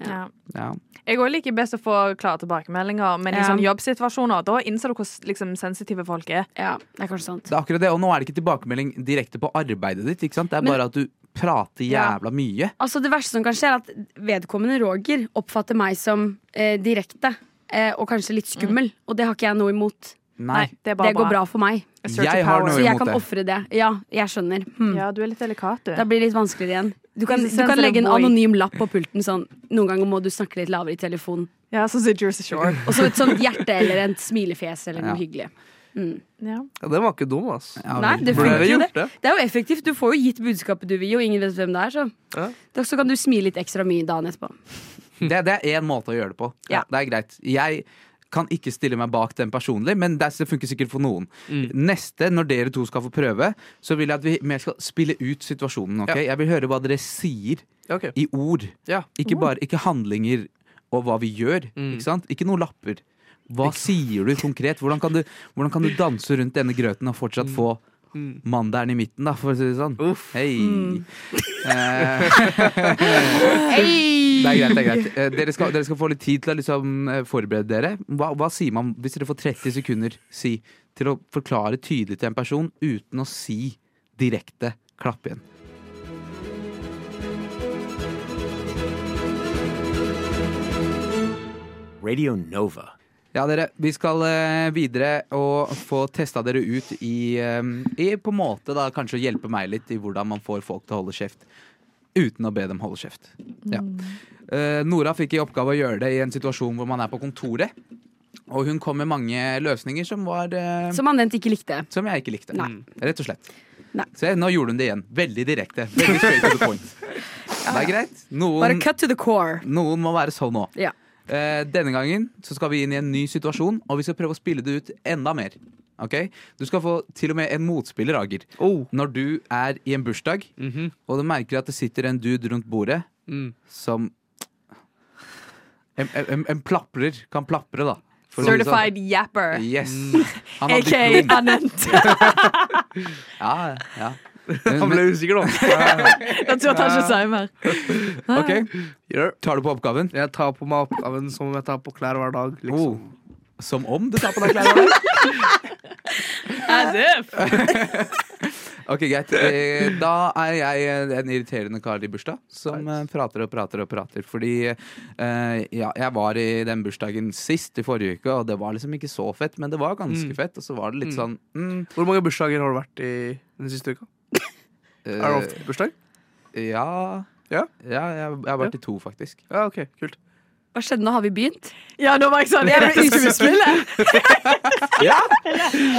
Ja.
Ja.
Jeg òg liker best å få klare tilbakemeldinger, men i
Ja.
sånne jobbsituasjoner da innser du hvor s- liksom, sensitive folk er.
Ja, det er kanskje sant.
Det er akkurat det, og nå er det ikke tilbakemelding direkte på arbeidet ditt. ikke sant? Det er bare at du prater
Ja.
jævla mye.
Altså Det verste som kan skje, er at vedkommende Roger oppfatter meg som eh, direkte eh, og kanskje litt skummel. Og det har ikke jeg noe imot.
Nei.
det er bare
Det går bra for meg.
A search
Jeg
of
har
power.
noe
Så jeg
imot
kan
det.
ofre det. Ja, jeg skjønner. Hmm.
Ja, du Mm. er litt delikat, du.
Da blir det litt vanskeligere igjen. Du kan, du kan legge en anonym lapp på pulten sånn Noen ganger må du snakke litt lavere i telefonen.
Ja, så sitter Jersey Shore.
Og så et sånt hjerte eller et smilefjes eller
Ja.
noe hyggelig.
Ja.
Ja, den var ikke dum, ass.
Ja,
Nei,
vel.
det
Burde
funker
dere
jo det.
gjort det?
Det er jo effektivt. Du får jo gitt budskapet du vil gi, og ingen vet hvem det er, så
Ja.
Da- Så kan du smile litt ekstra mye dagen etterpå.
Det, det er én måte å gjøre det på.
Ja.
Det er greit. Jeg kan ikke stille meg bak den personlig, men det det funker sikkert for noen.
Mm.
Neste, når dere to skal få prøve, så vil jeg at vi mer skal spille ut situasjonen. ok? Jeg vil høre hva dere sier
Ja, ok.
i ord.
Ja.
Ikke bare ikke handlinger og hva vi gjør.
Mm.
Ikke sant? Ikke noen lapper. Hva sier du konkret? Hvordan kan du, hvordan kan du danse rundt denne grøten og fortsatt få
Mm.
mandelen i midten, da, for å si det sånn?
Uff. Mm.
Hei. Eh, det er greit. det er greit Eh, dere, skal, dere skal få litt tid til å liksom, eh, forberede dere. Hva, hva sier man hvis dere får 30 sekunder si, til å forklare tydelig til en person uten å si direkte 'klapp igjen'?
Radio Nova.
Ja, dere, vi skal eh, videre og få testa dere ut i, eh, i på en måte da, kanskje å hjelpe meg litt i hvordan man får folk til å holde kjeft uten å be dem holde kjeft. Ja. Eh, Nora fikk i oppgave å gjøre det i en situasjon hvor man er på kontoret. Og hun kom med mange løsninger som var eh,
Som anvendt ikke likte.
som jeg ikke likte. Mm.
Nei.
Rett og slett.
Nei.
Se, nå gjorde hun det igjen. Veldig direkte. Veldig straight to the point. Det er greit.
Bare
Noen,
cut to the core.
noen må være sånn nå.
Ja.
Eh, denne gangen så skal vi inn i en ny situasjon, og vi skal prøve å spille det ut enda mer. Ok? Du skal få til og med en motspiller, Ager.
Oh.
Når du er i en bursdag,
Mhm.
og du merker at det sitter en dude rundt bordet
Mm.
som En, en, en plaprer kan plapre, da. For å si det sånn.
Certified yapper.
Yes.
Mm.
Han har
AKA
diplom.
Anent.
Ja, ja.
Han ble usikker, da.
Jeg tror han ikke sier mer. Ah.
Ok, Tar du på oppgaven?
Jeg tar på meg oppgaven som om jeg tar på klær hver dag. Liksom.
Oh. Som om du tar på deg klærne?
As if.
Ok, greit. Eh, Da er jeg eh, en irriterende kar i bursdag som eh, prater og prater og prater. Fordi eh, ja, jeg var i den bursdagen sist, i forrige uke, og det var liksom ikke så fett, men det var ganske
Mm.
fett. Og så var det litt sånn mm,
Hvor mange bursdager har du vært i den siste uka?
eh,
Er det ofte bursdag?
Ja.
Ja?
ja jeg, jeg har vært i to, faktisk.
Ja, ok, kult
Hva skjedde nå? Har vi begynt?
Ja, nå var jeg sånn. Jeg ble skuespillet.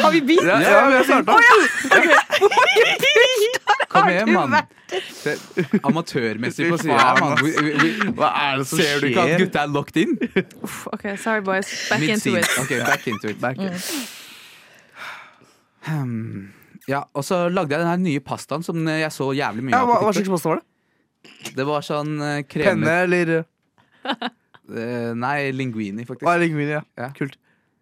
Har vi begynt?
Ja, vi har starta.
Kom igjen, mann. Se, Amatørmessig på
Fy
sida her,
faen,
mann.
ass.
Vi- vi- vi-
Hva er det som
Ser du ikke at gutta er locked in?
OK, sorry, boys. Back into
Mid-scene.
it.
Ok, back into it.
Back in.
Hmm. Ja, og så lagde jeg den her nye pastaen som jeg så jævlig mye
Ja,
av.
hva,
på
hva
TikTok.
slags post var det?
Det var sånn eh,
Penne
kremet
eller
eh, Nei, linguini, faktisk.
Hva er linguini? Ja.
Ja.
Kult.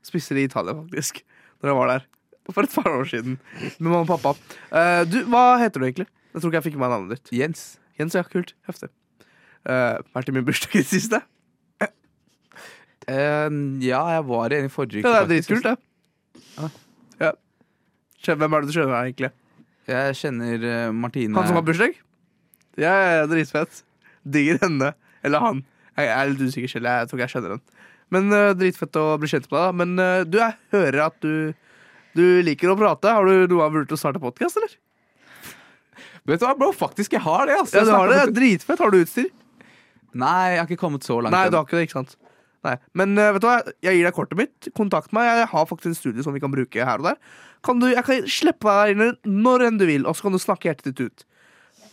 Spiste det i Italia, faktisk. Når jeg var der. For et par år siden. Med mamma og pappa. Eh, du, hva heter du egentlig? Jeg tror ikke jeg fikk med meg navnet ditt.
Jens.
Jens, ja. Kult. Heftig. Eh, vært i min bursdag i det siste?
Eh, ja, jeg var i en i forrige uke.
Ja, det er
faktisk.
dritkult, det. Ja. Skjø- Hvem er det du skjønner her, egentlig?
Jeg kjenner eh, Martine
Han som har bursdag? Ja, ja, ja, dritfett. Digger henne. Eller han. Jeg er litt usikker selv. Jeg tror ikke jeg skjønner den. Men eh, Dritfett å bli kjent med deg. da. Men eh, du, jeg hører at du du liker å prate. Har du noe av vurdert å starte podkast, eller?
Vet du hva, bro? Faktisk, jeg har det. altså. ass.
Ja, du har det.
Jeg
det er Dritfett. Har du utstyr?
snakker- Nei, jeg har ikke kommet så langt.
Nei,
ennå.
du har ikke det, ikke sant? Nei. Men eh, vet du hva, jeg gir deg kortet mitt. Kontakt meg. Jeg har faktisk en studie som vi kan bruke her og der. Kan du, jeg kan slippe deg der inne når enn du vil, og så kan du snakke hjertet ditt ut.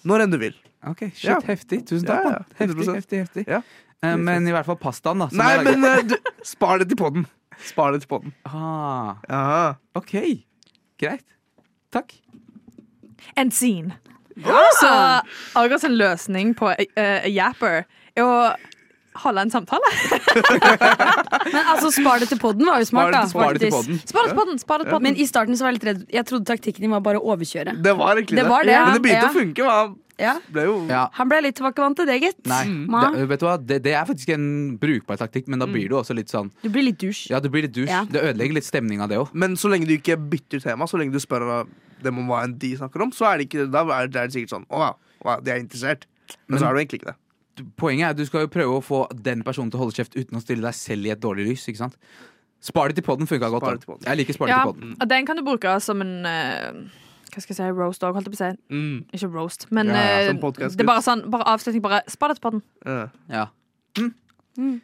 Når enn du vil.
Ok, shit,
Ja.
heftig. Tusen
Ja,
takk.
ja,
mann. Heftig,
100%.
heftig, heftig.
Ja.
Eh, men i hvert fall pastaen, da. som
Nei,
jeg laget.
men eh, du, spar det til poden. Spar det til podden.
Ah,
Aha.
OK. Greit. Takk.
And scene. Så Agers løsning på eh, Yapper er å holde en samtale.
Men altså, spar det til podden var jo smart, da.
Spar det til
Faktisk.
podden.
Spar oss på den! Spar oss på den.
Men i starten så var jeg litt redd. Jeg trodde taktikken din var bare å overkjøre.
Det var egentlig det.
Det var det,
Men det begynte
ja.
å funke. hva?
Ja.
Ble jo
Ja.
Han ble litt tilbakevant til det, gitt. Mm.
Nei,
Mm.
Mm.
Ma.
det, vet du hva? Det, det er faktisk en brukbar taktikk, men da blir du også litt sånn
Du blir litt dusj.
Ja, det blir litt dusj.
Ja.
Det ødelegger litt stemninga, det òg.
Men så lenge du ikke bytter tema, så lenge du spør dem om hva enn de snakker om, så er det, ikke, da er det er det sikkert sånn Å ja, wow, de er interessert. Men,
Men-
så er du egentlig ikke det.
Poenget er at du skal jo prøve å få den personen til å holde kjeft uten å stille deg selv i et dårlig lys. ikke sant? Spar det til podden funka
Spar
godt.
det til
Da.
podden.
Jeg liker spar det
Ja,
til podden.
og den kan du bruke som en eh, Hva skal jeg si? Roast òg, holdt jeg på å si.
Mm.
Ikke roast, men
Ja, ja,
eh,
som podcast-gutt.
det er bare sånn Bare avslutning. Bare spar det til podden.
Ja.
Ja. Mm.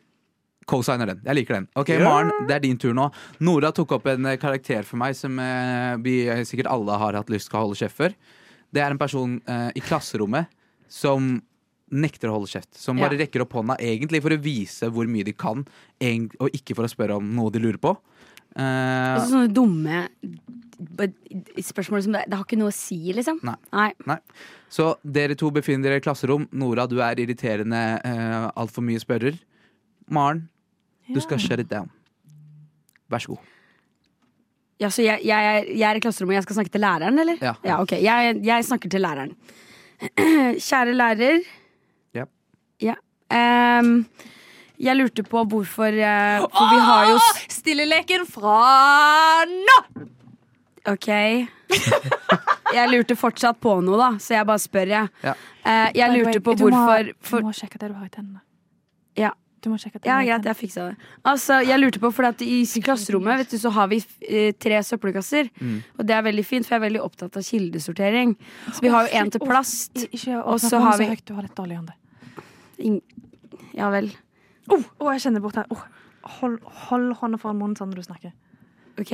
Co-signer den. Jeg liker den. Ok,
Ja.
Maren, det er din tur nå. Nora tok opp en eh, karakter for meg som eh, vi eh, sikkert alle har hatt lyst til å holde kjeft for. Det er en person eh, i klasserommet som nekter å holde kjeft. Som bare rekker opp hånda egentlig for å vise hvor mye de kan, eng- og ikke for å spørre om noe de lurer på. Eh,
Altså, sånne dumme b- spørsmål som det, det har ikke noe å si, liksom.
Nei.
Nei.
Så dere to befinner dere i klasserom. Nora, du er irriterende eh, altfor mye spørrer. Maren, du skal shut it down. Vær så god.
Ja, så jeg, jeg, er- jeg er i klasserommet, jeg skal snakke til læreren, eller?
Ja.
ok. Jeg, jeg snakker til læreren. Kjære lærer.
Ja.
Ja. Ehm, jeg lurte på hvorfor eh, For vi har jo s-
Stilleleken fra nå!
Ok. Jeg lurte fortsatt på noe, da, så jeg bare spør, jeg.
Ja.
Eh, jeg lurte på
Du må-
hvorfor for,
Du må sjekke det du har i tennene.
Ja.
Du må sjekke at
Ja,
du har i
greit, jeg fiksa det. Altså, jeg lurte på, for at I s- klasserommet vet du, så har vi eh, tre søppelkasser.
Mm.
Og det er veldig fint, for jeg er veldig opptatt av kildesortering. Så vi har jo en til plast.
tennene. Ikke
Og så
åpne
har
hånden
vi-
så høyt. Du har litt dårlig ånde.
Ing- Ja vel. Oh,
Å, å, jeg kjenner det bort her. Å, hold, hold hånda foran munnen sånn når du snakker.
Ok.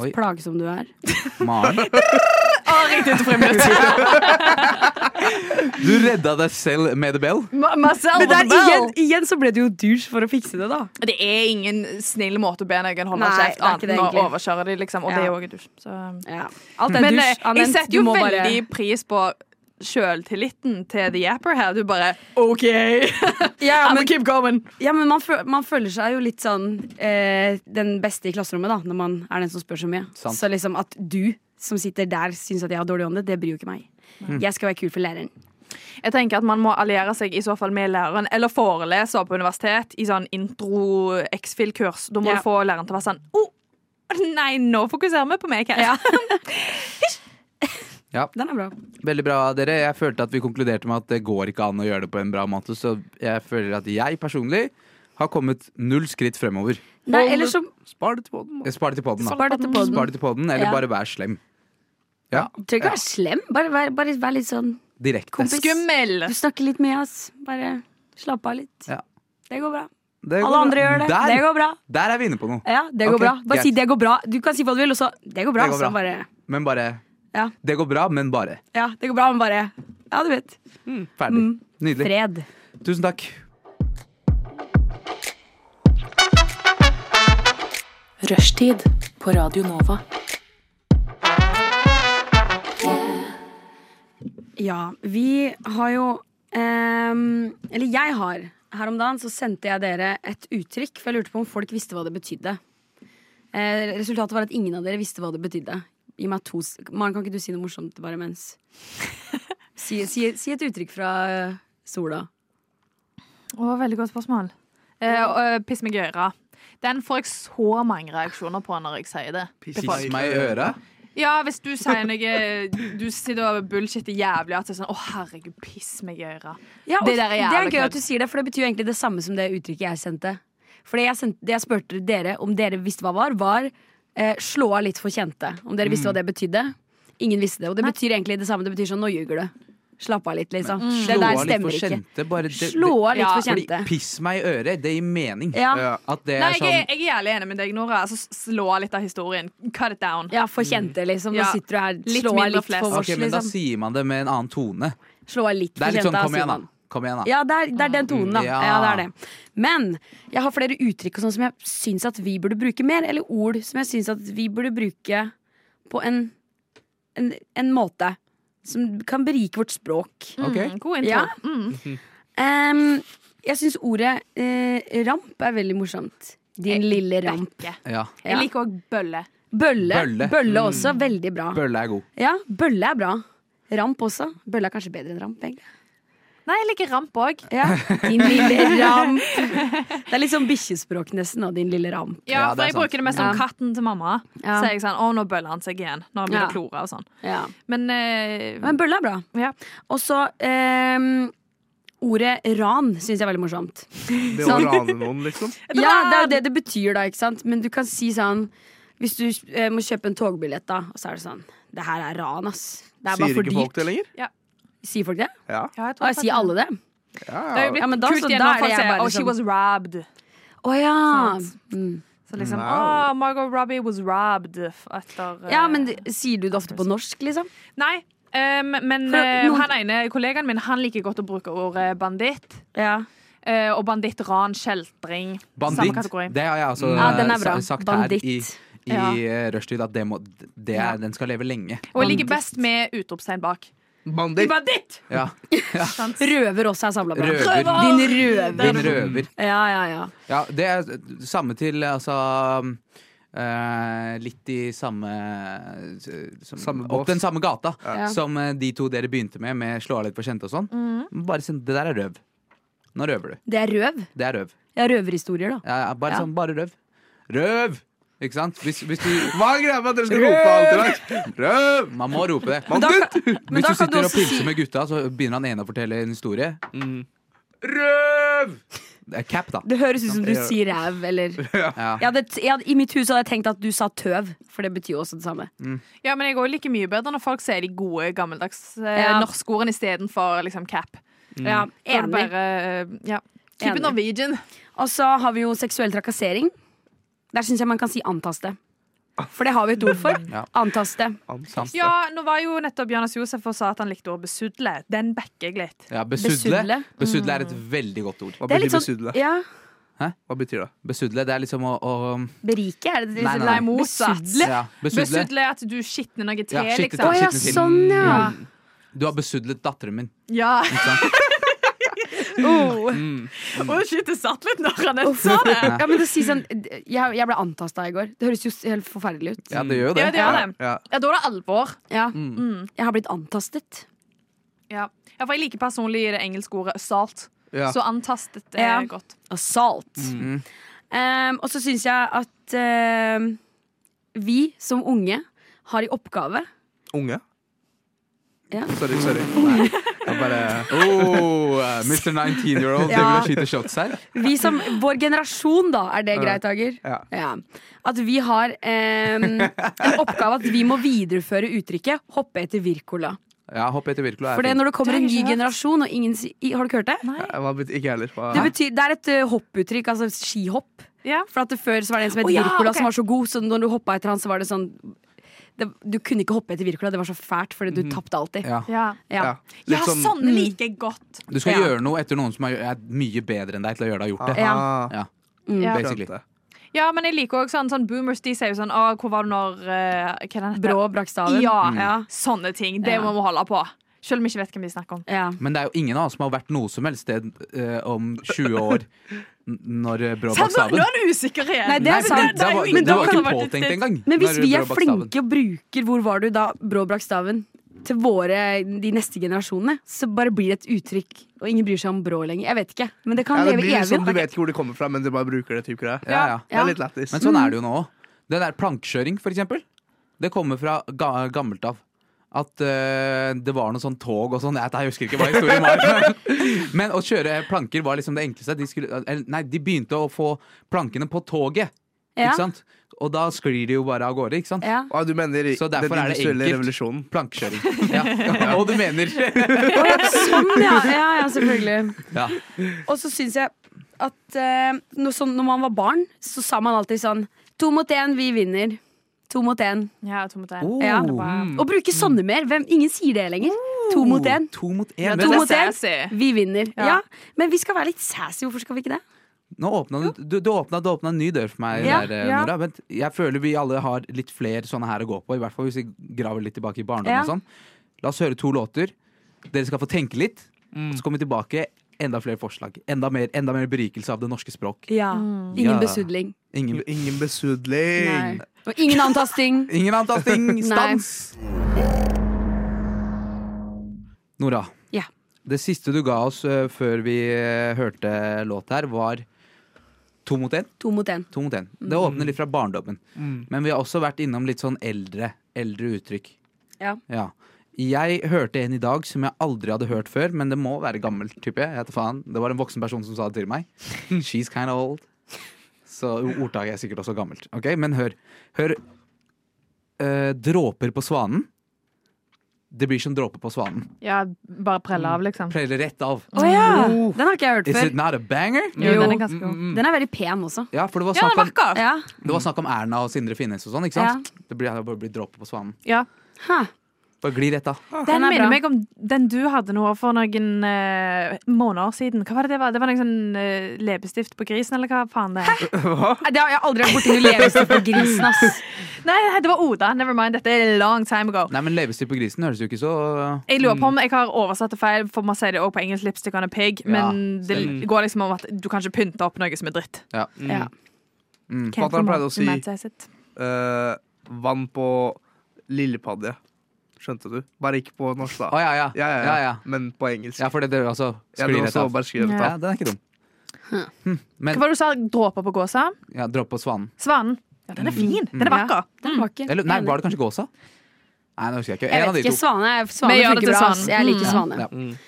Oi.
Plagsom du er.
Maren,
Riktig til friminutt.
du redda deg selv med the bell.
Men der, igjen, igjen så ble det jo dusj for å fikse det, da.
Det er ingen snill måte å be noen holde
Nei,
kjeft
det er ikke
annet
det
enn å
egentlig.
overkjøre dem, liksom. Og det er
Ja.
jo også dusj. Så.
Ja. Alt er
Men eh,
dusj.
jeg
Anent,
setter
du
jo
må
veldig
bare-
pris på sjøltilliten til The Yapper her. Du bare OK!
ja,
I'm
men,
gonna keep going!
ja, men man, føl man føler seg jo litt sånn eh, den beste i klasserommet, da, når man er den som spør så mye.
Sant.
Så liksom at du som sitter der, syns at jeg har dårlig ånde, det bryr jo ikke meg.
Mm.
Jeg skal være kul for læreren.
Jeg tenker at Man må alliere seg i så fall med læreren eller foreleser på universitet i sånn intro-X-fil-kurs. Da må
Ja.
du få læreren til å være sånn oh, Nei, nå fokuserer vi på meg her.
Den er bra.
Veldig bra, dere. Jeg følte at vi konkluderte med at det går ikke an å gjøre det på en bra måte, så jeg føler at jeg personlig har kommet null skritt fremover.
Nei, eller så
Spar det til podden. da.
Jeg Spar det til podden, da.
Spar det til podden.
Spar det til podden, eller
Ja.
bare vær slem. Ja,
Trenger ikke være slem. Bare vær, bare vær litt sånn
direkte.
kompis.
Skummel!
Du snakker litt med oss. Bare slapp av litt.
Ja.
Det går bra.
Det går
Alle
bra.
andre gjør det.
Der,
Det går bra.
der er vi inne på noe.
Ja, det går
Ok,
bra. Bare
greit.
si 'det går bra'. Du kan si hva du vil, og så 'det går bra'.
Det går bra.
Så bare,
Men bare
Ja.
Det går bra, men bare.
ja, det går bra, men bare Ja, du vet.
Ferdig. Nydelig.
Mm. Fred.
Tusen takk.
Rushtid på Radio Nova.
Ja, vi har jo ehm, Eller jeg har. Her om dagen så sendte jeg dere et uttrykk, for jeg lurte på om folk visste hva det betydde. Eh, resultatet var at ingen av dere visste hva det betydde. Gi meg to s- Maren, kan ikke du si noe morsomt bare mens? Si, si, si et uttrykk fra eh, sola.
Å, veldig godt spørsmål. Eh, og, eh, piss meg i øra. Den får jeg så mange reaksjoner på når jeg sier det.
Piss
Piss meg i øra.
Ja, hvis du sier noe eh, Du sitter og bullshitter jævlig at det er sånn Å, herregud, piss meg i øra.
Ja, og
Det der er
det er
jævlig
gøy
kødd.
at du sier det, for det betyr jo egentlig det samme som det uttrykket jeg sendte. Fordi jeg, sendte, det jeg spurte dere om dere visste hva var, var eh, slå av litt for kjente. Om dere visste hva
Mm.
det betydde. Ingen visste det. Og det betyr egentlig det samme. Det betyr sånn nå ljuger du. Slapp av litt, liksom.
Mm.
Det
Slå
der
av litt
stemmer
for
ikke.
kjente. Bare det, det,
Slå av litt
Ja,
for
fordi
kjente.
piss meg i øret, det gir mening.
Ja.
Ja.
At det
Nei,
er
jeg er,
sånn
jeg er jævlig enig med deg, Nora. Altså, slå av litt av historien. Cut it down.
ja, for kjente, liksom. Nå
Ja.
sitter du her,
Litt
slå av
mindre
litt
flesk.
Ok,
for vårs,
men da
liksom.
sier man det med en annen tone.
Slå av litt
Det
for
er litt sånn
kjente,
kom igjen, da.
Simon.
Kom igjen, da.
Ja, det er, det er den tonen, da.
Mm,
Ja.
ja.
det er det. Men jeg har flere uttrykk og sånn som jeg syns at vi burde bruke mer, eller ord som jeg syns at vi burde bruke på en, en, en måte som kan berike vårt språk.
Ok.
God intro.
Ja.
Mm.
Em, jeg syns ordet eh, ramp er veldig morsomt.
Eh,
Din lille ramp.
Bekke.
Ja.
Ja.
Jeg liker òg bølle.
Bølle. Bølle,
Bølle. Mm.
også. Veldig bra.
Bølle er god.
Ja, bølle er bra. Ramp også. Bølle er kanskje bedre enn ramp, egentlig.
Nei, jeg liker ramp òg.
Ja. Din lille ramp. Det er litt sånn bikkjespråk nesten, og din lille ramp.
Ja, det
Ja,
er
for jeg
sant.
bruker det mest om
Ja.
katten til mamma.
Ja.
Så er jeg sånn, å, nå bøller han seg igjen. Når
Ja.
han begynner å klore og sånn.
Ja.
Men, eh,
Men bølle er bra.
Ja.
Og så ehm, ordet ran syns jeg er veldig morsomt.
Det
Sånn.
å rane noen, liksom.
Ja, det er jo det det betyr, da, ikke sant? Men du kan si sånn Hvis du eh, må kjøpe en togbillett, da, og så er det sånn Det her er ran, ass. Det er bare
Sier
for
ikke folk
dyrt.
det lenger?
Sier folk det?
Ja.
ja, jeg
Og
tror
jeg sier alle det?
ja,
Det er jo
ja.
blitt
Ja, men da-
kult
så
igjen
da
når
er
folk
jeg
sier
bare
oh, she
sånn-
was robbed.
Å ja.
Sant.
Mm.
Så liksom,
Wow.
«Åh, Margot Robbie was robbed etter eh,
Ja, men det- sier du det ofte på norsk, liksom?
Nei, em, men
For
eh,
noen-
han ene kollegaen min Han liker godt å bruke ordet banditt.
Ja.
eh, og banditt, ran, kjeltring. Samme
Banditt.
kategori.
Det har jeg også
Ja, den er bra.
sa- sagt her i,
Banditt.
i rushtid, at det må, det er,
Ja.
den skal leve lenge.
Og jeg liker best med utropstegn bak.
Bandit.
Banditt!
Ja.
Røver også er samla bra.
Røver.
Din røver.
Din røver.
Ja, ja, ja.
Ja, det er samme til altså eh, litt i samme eh, som,
Samme bås.
Opp den samme gata
Ja.
som eh, de to dere begynte med, med slå av litt på kjente og sånn.
Mhm.
Bare sånn, Det der er røv. Nå røver du.
Det er røv.
Det er røv.
Ja, røverhistorier, da.
Ja, ja, bare
Ja.
sånn, bare røv. Røv! Ikke sant? Hvis, hvis du
Hva er greia med at dere skal rope alt i dag? Røv!
Man må rope det.
Men da kan-
Hvis
men da
du
kan du
sitter og
også si-
pilser med gutta, så begynner han ene å fortelle en historie.
Røv!
Det er cap, da.
Det høres ut som du
Ja.
sier ræv, eller
Ja.
jeg hadde, jeg hadde, I mitt hus hadde jeg tenkt at du sa tøv, for det betyr jo også det samme.
Ja, men jeg òg liker mye bedre når folk sier de gode, gammeldags eh,
Ja.
norske ordene istedenfor liksom cap.
Ja,
Da er det
enig.
Bare, eh, ja.
Enig.
Keep it Norwegian.
Og så har vi jo seksuell trakassering. Der syns jeg man kan si antaste. For det har vi et ord for.
Ja.
Antaste.
Sant.
Ja, nå var jo nettopp Jonas Josef og sa at han likte ordet besudle. Den backer jeg litt.
Ja, besudle.
Besudle. Mm.
Besudle er et veldig godt ord.
Hva
Det er
betyr
litt sånn-
besudle?
Ja,
Hva betyr det?
Besudle, det er liksom å, å
Berike, er det det?
Nei, nei, nei.
Nei, motsatt.
Besudle?
Ja, besudle.
Besudle er at du skitner noe te,
Ja, skitner
Å
liksom.
te.
ja,
Skitne til.
sånn ja.
Du har besudlet datteren min.
Ja.
Ikke sant?
Oh. Oh, shit, det satt litt når han nettopp sa det.
ja men det sier sånn, jeg, jeg ble antasta i går. Det høres jo s- helt forferdelig ut.
Ja, det gjør jo det.
Ja, det gjør det.
Ja.
Ja, da er det alvor.
Ja. Mm. Jeg har blitt antastet.
Ja. ja, for jeg liker personlig det engelske ordet assault.
Ja.
Så antastet er
Ja.
godt.
Assault. Um, og så syns jeg at um, vi som unge har i oppgave
Unge?
Ja.
Sorry, sorry. Nei. Jeg bare
Oh, Mr. 19-year-old
Ja.
driver og skyter shots her.
Vi som, Vår generasjon, da. Er det greit, Hager?
Ja.
At vi har um, en oppgave at vi må videreføre uttrykket 'hoppe etter Wirkola'.
Ja, hopp etter Wirkola. er
For det er
fint.
når det kommer
Det har
en
jeg
ny
ikke hørt.
generasjon, og ingen si- i- Har du ikke hørt det?
Hva betyr Ikke jeg heller. Hva-
Det, betyr, det er et uh, hopputtrykk, altså skihopp.
Ja.
For at det Før så var det en som het
Å, ja,
Wirkola,
ok.
som var så god, så når du hoppa etter han, så var det sånn det, Du kunne ikke hoppe etter Wirkola, det var så fælt, fordi du tapte alltid.
Ja.
Ja,
Ja.
Ja.
ja
Litt sånn-
sånne liker jeg godt.
Du skal
Ja.
gjøre noe etter noen som er, er mye bedre enn deg til å gjøre det har gjort det.
Ja.
Ja,
Mm.
Ja.
basically.
Skjønte.
Ja, men jeg liker også sånn, sånn boomers. De sier jo sånn Å, hvor var du når eh, Hva er det den heter?
Brå brakk staven.
Ja,
ja.
Sånne ting. Det
Ja.
må vi holde på. Selv om vi ikke vet hvem de snakker om.
Ja.
Men det er jo ingen av oss som har vært noe som helst sted eh, om 20 år n- når eh, Brå
Nå
bak staven.
nå er du usikker igjen!
Nei, det er
Nei,
sant.
Det, var,
Men
det
da
var
kan
ikke
det ha vært
påtenkt
litt-
engang.
Men hvis
når
vi er
Brå bak staven.
flinke og bruker 'hvor var du da', brå brakk staven, til våre, de neste generasjonene, så bare blir det et uttrykk, og ingen bryr seg om brå lenger. Jeg vet ikke, men det kan
Ja, det
leve
blir
evig.
sånn, Du vet ikke hvor det kommer fra, men du bare bruker det. Typ, greia.
Ja, ja.
Det er litt lættis.
Men sånn
Mm.
er det jo nå òg. Det der plankekjøring, for eksempel. Det kommer fra ga gammelt av. At eh, det var noe sånn tog og sånn. Jeg, jeg husker ikke hva historien var. Men å kjøre planker var liksom det enkleste. De, skulle, eller, nei, de begynte å få plankene på toget,
Ja.
ikke sant? Og da sklir de jo bare av gårde, ikke sant?
Ja.
Ah, du mener i-
Så
den
derfor er det
industrielle
enkelt.
revolusjonen?
Plankekjøring. Ja. Og du mener
Å, ja, sånn, ja. ja, ja selvfølgelig.
ja.
Og så syns jeg at eh, når, sånn, når man var barn, så sa man alltid sånn To mot én, vi vinner. To mot én.
Ja, to mot en.
Oh.
Ja.
Wow.
Å bruke sånne mer. Hvem, ingen sier det lenger.
Oh.
To mot én.
To mot én.
Ja,
Vet
to
du-
mot
det er
én.
sassy.
Vi vinner.
Ja.
Ja. Men vi skal være litt sassy. Hvorfor skal vi ikke det?
Nå åpna du, du, du, åpna, du åpna en ny dør for meg.
Ja,
der, eh,
ja.
Nora, men jeg føler vi alle har litt flere sånne her å gå på. I hvert fall hvis vi graver litt tilbake i barndommen.
Ja.
og sånn. La oss høre to låter. Dere skal få tenke litt. Og så kommer vi tilbake. Enda flere forslag. Enda mer, enda mer berikelse av det norske språk.
Ja.
Ja.
Ingen besudling.
Ingen,
Ingen besudling.
Og ingen antasting.
ingen antasting!
Nei.
Stans! Nora.
Ja.
Det siste du ga oss eh, før vi eh, hørte låt her, var to mot én.
To mot én.
To mot én. Det åpner litt fra barndommen. Men vi har også vært innom litt sånn eldre, eldre uttrykk.
Ja.
Jeg hørte en i dag som jeg aldri hadde hørt før, men det må være gammel, type. Jeg vet faen. Det var en voksen person som sa det til meg. She's kind of old. Så ordtaket er sikkert også gammelt. Ok, Men hør. Hør. Eh, dråper på svanen. Det blir som dråper på svanen.
Ja, bare prelle av, liksom.
Preller rett av.
Å ja! Den har ikke jeg hørt
Is it
før.
not a banger?
Jo,
Jo.
den er ganske god.
Den er veldig pen også.
Ja, for det var
Ja,
snakk
den er
om,
vakker.
Ja.
det var snakk om Erna og Sindre Finnes og sånn. ikke sant? Det blir, det blir dråper på svanen.
Ja.
Ha.
Bare gli rett av.
Den
Den er
minner
bra.
meg om den du hadde nå for noen eh, måneder siden. Hva var det det var? Det var noen sånn eh, leppestift på grisen, eller hva faen det er?
Nei, Det har jeg aldri vært borti. Du lever på grisen, ass.
Nei, nei, det var Oda. Never mind. Dette er long time ago.
Nei, men Leppestift på grisen høres jo ikke så
Jeg lurer på om jeg har oversatt det feil, for man sier det også på engelsk 'lipstick on a pig', men
Ja,
det går liksom om at du kan ikke pynte opp noe som er dritt.
Ja.
Ja.
Mm.
Can't
Fatter'n pleide å si-
romanticize it.
Eh, vann på lillepadde. Skjønte du? Bare ikke på norsk, da.
Å ja, ja.
Ja, ja, ja. Men på engelsk.
Ja, for det, det altså
Ja, det
sklir
var
rett
så
av.
bare skrevet
Ja.
av.
Ja, den er ikke dum.
Hva var det du sa? Dråper på gåsa?
Ja, Dropp på svanen.
Svanen. Ja, den er fin. Den er
Ja.
vakker.
Den var ikke
Eller nei, var det kanskje gåsa? Nei, det husker jeg ikke.
Jeg
En av
vet
de
ikke.
to.
Svane, svane
Vi gjør det
funker
til
bra. ass.
svanen.
Jeg liker
Ja,
svane.
ja.
Mm.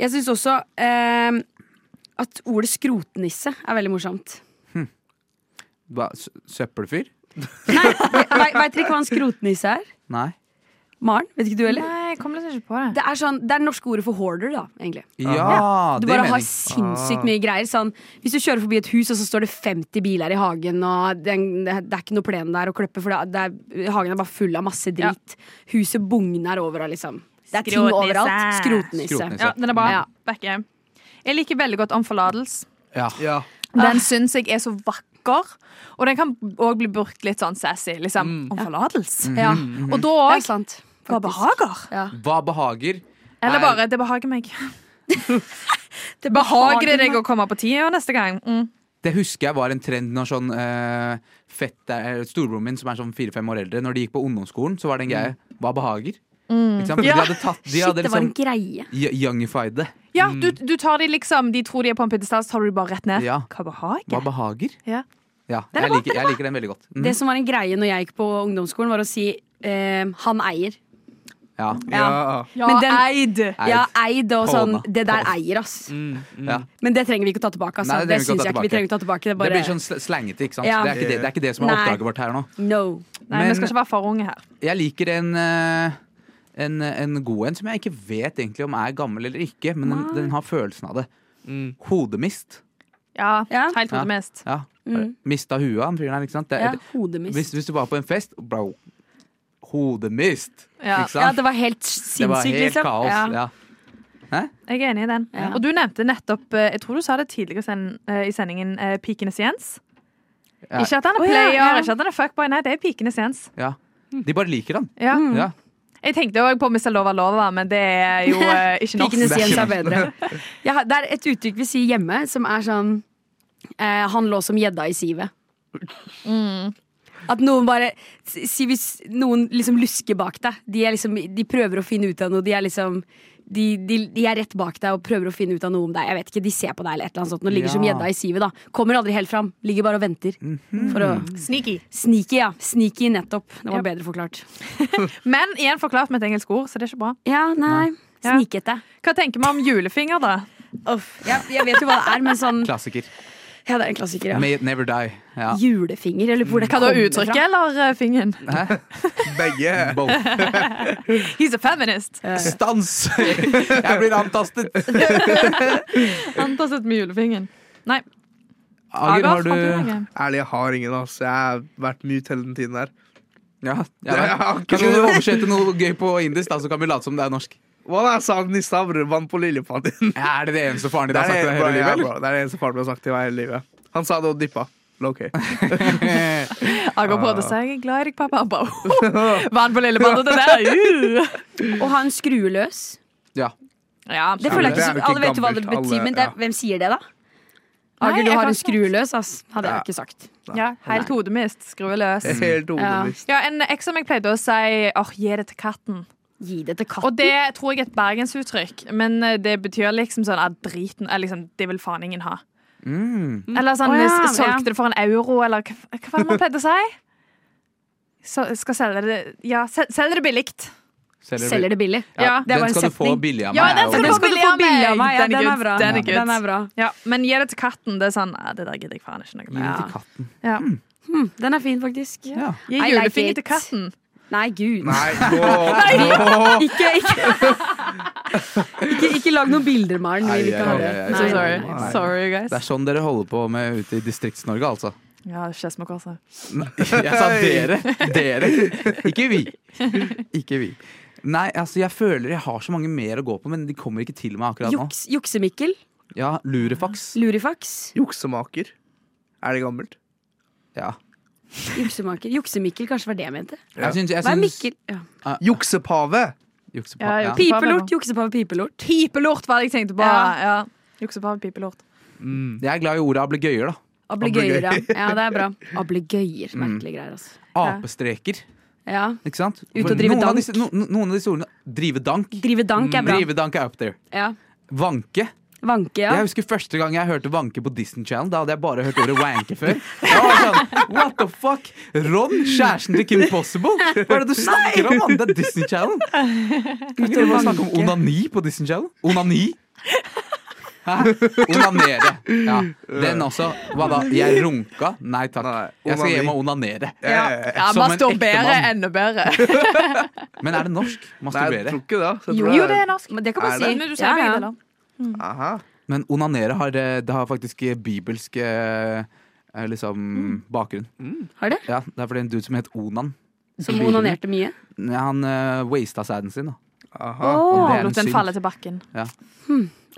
Jeg syns også eh, at ordet skrotnisse er veldig morsomt.
Hva, sø- Søppelfyr?
Nei, Veit veit dere ikke hva en skrotnisse er?
Nei.
Maren, vet ikke du heller?
Nei, jeg kom liksom ikke på det.
Det er, sånn, det er det norske ordet for hoarder, da, egentlig.
Ja,
Du
det
bare
mener
har
jeg. Ah.
sinnssykt mye greier. Sånn, hvis du kjører forbi et hus, og så står det 50 biler i hagen, og det, det er ikke noe plen der å klippe, for det er, det er, hagen er bare full av masse drit. Huset bugner overalt, liksom. Det er ting
Skrotnisse.
overalt. Skrotnisse.
Skrotnisse.
Ja, den er bra.
Ja.
Back hjem. Jeg liker veldig godt 'Om forlatelse'.
Ja.
Ja.
Den syns jeg er så vakker, og den kan òg bli brukt litt sånn sassy. Liksom. Om forlatelse.
Ja,
Og da
det er
òg
sant.
Hva behager?
Hva behager?
Eller
Nei.
bare 'det behager meg'. det behager det deg å komme på tida neste gang? Mm.
Det husker jeg var en trend når sånn eh, fett eh, Storebroren min, som er sånn fire-fem år eldre, når de gikk på ungdomsskolen, så var det en greie. Hva behager? Ikke sant? For De hadde tatt De
Mm. Shit,
hadde
det var
liksom
en greie.
y- youngified det.
Ja, du, du tar de liksom De tror de er på en pidestall, så tar du de bare rett ned.
Mm. Ja.
Hva behager?
Hva behager?
Ja.
Ja,
Den er
jeg
bra,
liker, jeg liker den veldig godt. Mm.
Det som var en greie når jeg gikk på ungdomsskolen, var å si eh, 'han eier'.
Ja.
Ja.
Ja,
Men den-
eid!
Eid.
Ja, Mm. eid og sånn.
Håna.
Det der eier, ass.
Ja.
Men det trenger vi ikke å ta tilbake. Altså.
Mm. Nei, det trenger vi ikke å
det syns
ta
jeg ikke vi
tilbake.
trenger å ta tilbake. Det er
Det
bare
blir sånn sl- slangete, ikke sant?
Ja.
Det, er ikke det, det er ikke det som er
Nei.
oppdraget vårt her nå.
no.
Nei,
Men-
vi skal ikke være for unge her.
Jeg liker en, eh, en, en god en som jeg ikke vet egentlig om er gammel eller ikke, men den, den har følelsen av det.
Mm.
Hodemist.
Ja,
Ja.
helt
Ja.
hodemest.
Ja. Mista huet, han fyren her, ikke sant? Det,
Mm. Ja,
det, hvis,
hodemist.
Eh, hvis du var på en fest, bro. Hodemist!
Ja.
Ikke
Ja,
sant?
det var helt
ah. det var
sinnssykt,
helt
liksom.
kaos.
Ja.
Ja.
Jeg er enig i den.
Ja.
Og du nevnte nettopp eh, Jeg tror du sa det tidligere sen, eh, i sendingen eh, Pikenes Jens.
Ja.
Ikke at han er
Å, ja,
player,
ja.
ikke at han er fuckboy. Nei, det er Pikenes Jens.
Ja. De bare liker han.
Ja.
Mm.
Ja.
Jeg tenkte òg på Mr. Lova Lova, men det er jo eh, ikke norsk.
Pikenes Jens er bedre. Jeg har- det er et uttrykk vi sier hjemme som er sånn eh, Han lå som gjedda i sivet. Mm. At noen bare si Hvis noen liksom lusker bak deg de, er liksom, de prøver å finne ut av noe. De er liksom de, de, de er rett bak deg og prøver å finne ut av noe om deg. Jeg vet ikke, De ser på deg eller et eller annet sånt. Nå ligger som
Ja.
gjedda i sivet. da Kommer aldri helt fram. Ligger bare og venter. For å
Sneaky.
Sneaky, ja. Sneaky, nettopp. Det var
Ja.
bedre forklart.
Men igjen forklart med et engelsk ord, så det er ikke bra.
Ja, nei.
Ja.
Snikete.
Hva tenker vi om julefinger, da?
Uff. Ja, jeg vet jo hva det er, men sånn
Klassiker.
Ja, det er en klassiker, ja.
May it never die. Ja.
Julefinger, eller
Mm.
hvor det
Hva da,
kommer
uttrykket eller eh, fingeren?
Begge.
Both.
He's a feminist.
Stans! Jeg blir antastet!
Antastet med julefingeren. Nei.
Ager, har du
Ærlig, jeg har ingen. Altså. Jeg har vært mute hele den tiden her.
Ja, ja,
Ja,
vel.
akkurat.
Kan du oversette noe gøy på indisk, da, så kan vi late som det er norsk?
Hva da, sa han nissa brødvann på lillepann din?
Er det det eneste faren din
Det
har
er
sagt til
det,
deg
bro,
hele
ja,
livet?
bro, det er det eneste faren min har sagt til meg hele livet. Han sa det og dyppa. Low-key.
Agar prøvde
Ah.
seg. Jeg er glad i deg, pappa. Han bare, Vann på lillepanna til deg. Uh.
Og han skrur løs.
Ja.
Ja,
Det føler jeg ikke
det er
som
jo ikke
Alle vet jo hva det
gammelt, alle-
betyr, men det,
ja.
er- hvem sier det, da?
Nei,
Ager,
jeg
du har
kan
en
ikke-
skru løs, ass. Hadde
Ja.
jeg ikke sagt.
ja, helt hodemist. Skru løs.
Helt hodevisst.
Ja, en eks som jeg pleide å si åh, gi det til katten.
Gi det til
Og
katten.
det tror jeg er et bergensuttrykk, men eh, det betyr liksom sånn at driten er liksom, Det vil faen ingen ha.
Mm.
Eller sånn,
Å,
hvis
ja, ja.
solgte det for en euro, eller hva, hva var det man pleide å si? Så, skal selge det Ja, sel- selge det billig.
Selger det billig.
Ja,
Ja,
det
den
var en
skal du få
setning.
billig av
Ja,
meg.
den skal
er
du
jo-
få billig av meg. Den
Ja,
er
den,
good,
er bra.
den er good.
den er bra.
Ja, men gi det til katten. Det er sånn eh, Det der gidder jeg faen ikke noe
Gi det til
med.
katten.
Ja.
Hm, Den er fin, faktisk.
Ja.
Gi
I like
julefinger
it.
til katten.
Nei, gud.
Nei, gå! gå.
Ikke, ikke. ikke, ikke lag noen bilder, Maren. Vi vil ikke ha det.
Nei,
I'm
nei,
so
nei,
sorry.
nei, nei.
Sorry, guys.
Det er sånn dere holder på med ute i Distrikts-Norge, altså.
Ja,
altså.
Skedsmokorset.
Jeg sa dere. Dere. Ikke vi. Ikke vi. Nei, altså jeg føler jeg har så mange mer å gå på, men de kommer ikke til meg akkurat nå.
Juks, juksemikkel.
Ja, Lurefaks.
Lurifaks.
Juksemaker. Er det gammelt?
Ja.
Juksemaker. Juksemikkel, kanskje var det jeg mente.
Jeg syns, jeg
Hva er
syns
Mikkel? Ja.
Juksepave!
Juksepa-
Ja,
ja.
jukse-
Pipelort. Juksepave pipelort.
Pipelort var det jeg tenkte på. Ja.
Ja.
Juksepave, pipelort.
Jeg er glad i ordet ablegøyer, da.
Ablegøyer, ja. ja. Det er bra. Ablegøyer. Merkelige greier, altså.
Apestreker.
Ja.
Ikke sant?
Ut og
For
drive
noen
dank.
Av disse, no, noen av disse ordene Drive dank.
Drive dank er bra.
Drive dank er up there.
Ja.
Vanke.
Vanke, ja.
Jeg husker første gang jeg hørte vanke på Disney Channel. Da hadde jeg bare hørt ordet wanke før. Jeg var sånn, What the fuck? Ron, kjæresten til Kim Possible? Hva er det du snakker om? mann? Det er Disney Channel. Kan ikke dere bare snakke om onani på Disney Channel? Onani? Hæ? Onanere. Ja. Den også. Hva da? Jeg runka? Nei takk.
Nei,
Jeg skal
onani.
hjem og onanere.
Eh,
Ja,
Som en ekte
Masturbere
mann.
enda bedre.
Men er det norsk?
Nei, jeg
Masturbere.
tror ikke det. altså. Jeg
Jo,
tror
det er norsk.
Men det kan
Er
man si.
det?
Men du sier
Ja,
begge
ja.
deler.
Aha.
Men onanere har, eh, det har faktisk eh, bibelsk eh, eh, liksom, bakgrunn.
Mm. Har det?
Ja, Det er fordi en dude som het Onan.
Som onanerte mye.
Nei, Han eh, wasta sæden sin, da.
Aha.
Og det er en
Lot den
synd.
falle til bakken.
Ja.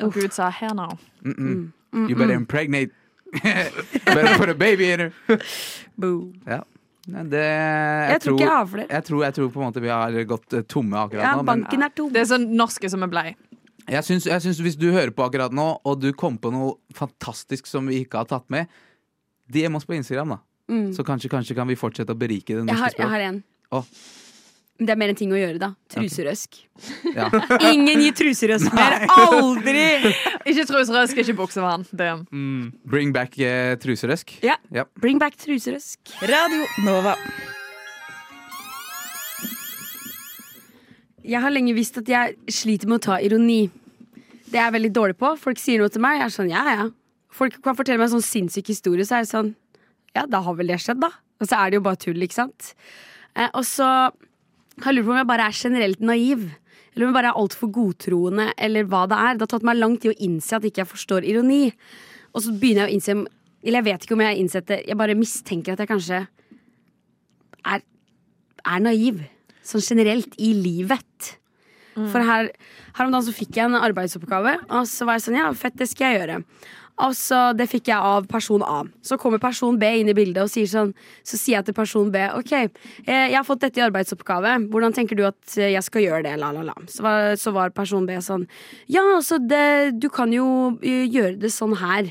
Og Gud sa 'here now'.
Mm -mm. You better impregnate. better put a baby in her.
Boo.
Ja. Nei, Det, jeg,
Jeg tror ikke jeg har flere.
jeg tror, jeg tror på en måte vi har gått eh, tomme akkurat
Ja,
nå. Men
banken er tom.
Det er så norske som vi blei.
jeg syns, jeg syns hvis du hører på akkurat nå, og du kom på noe fantastisk som vi ikke har tatt med, DM oss på Instagram, da.
Mm.
Så kanskje, kanskje kan vi fortsette å berike det
Jeg
norske
har, jeg
språket.
har en.
Å.
Men Det er mer en ting å gjøre, da. Truserøsk.
Ja.
Ingen gir truserøsk mer! Aldri!
Ikke truserøsk, ikke buksevann. Det.
Mm. Bring back eh, truserøsk.
Ja.
Ja.
Bring back truserøsk.
Radio Nova.
Jeg har lenge visst at jeg sliter med å ta ironi. Det er jeg veldig dårlig på. Folk sier noe til meg, jeg er sånn ja, ja. Folk kan fortelle meg en sånn sinnssyk historie, så er jeg sånn ja, da har vel det skjedd, da. Og så er det jo bare tull, ikke sant. Eh, og så har jeg lurt på om jeg bare er generelt naiv. Eller om jeg bare er altfor godtroende, eller hva det er. Det har tatt meg lang tid å innse at ikke jeg forstår ironi. Og så begynner jeg å innse Eller jeg vet ikke om jeg har innsett det, jeg bare mistenker at jeg kanskje er, er naiv. Sånn generelt i livet. For her, her om dagen så fikk jeg en arbeidsoppgave, og så var jeg sånn, ja, fett, det skal jeg gjøre. Og så Altså, Det fikk jeg av person A. Så kommer person B inn i bildet og sier sånn. Så sier jeg til person B ok, eh, jeg har fått dette i arbeidsoppgave. Hvordan tenker du at eh, jeg skal gjøre det? La, la, la. Så var, så var person B sånn. Ja, altså, det, du kan jo eh, gjøre det sånn her.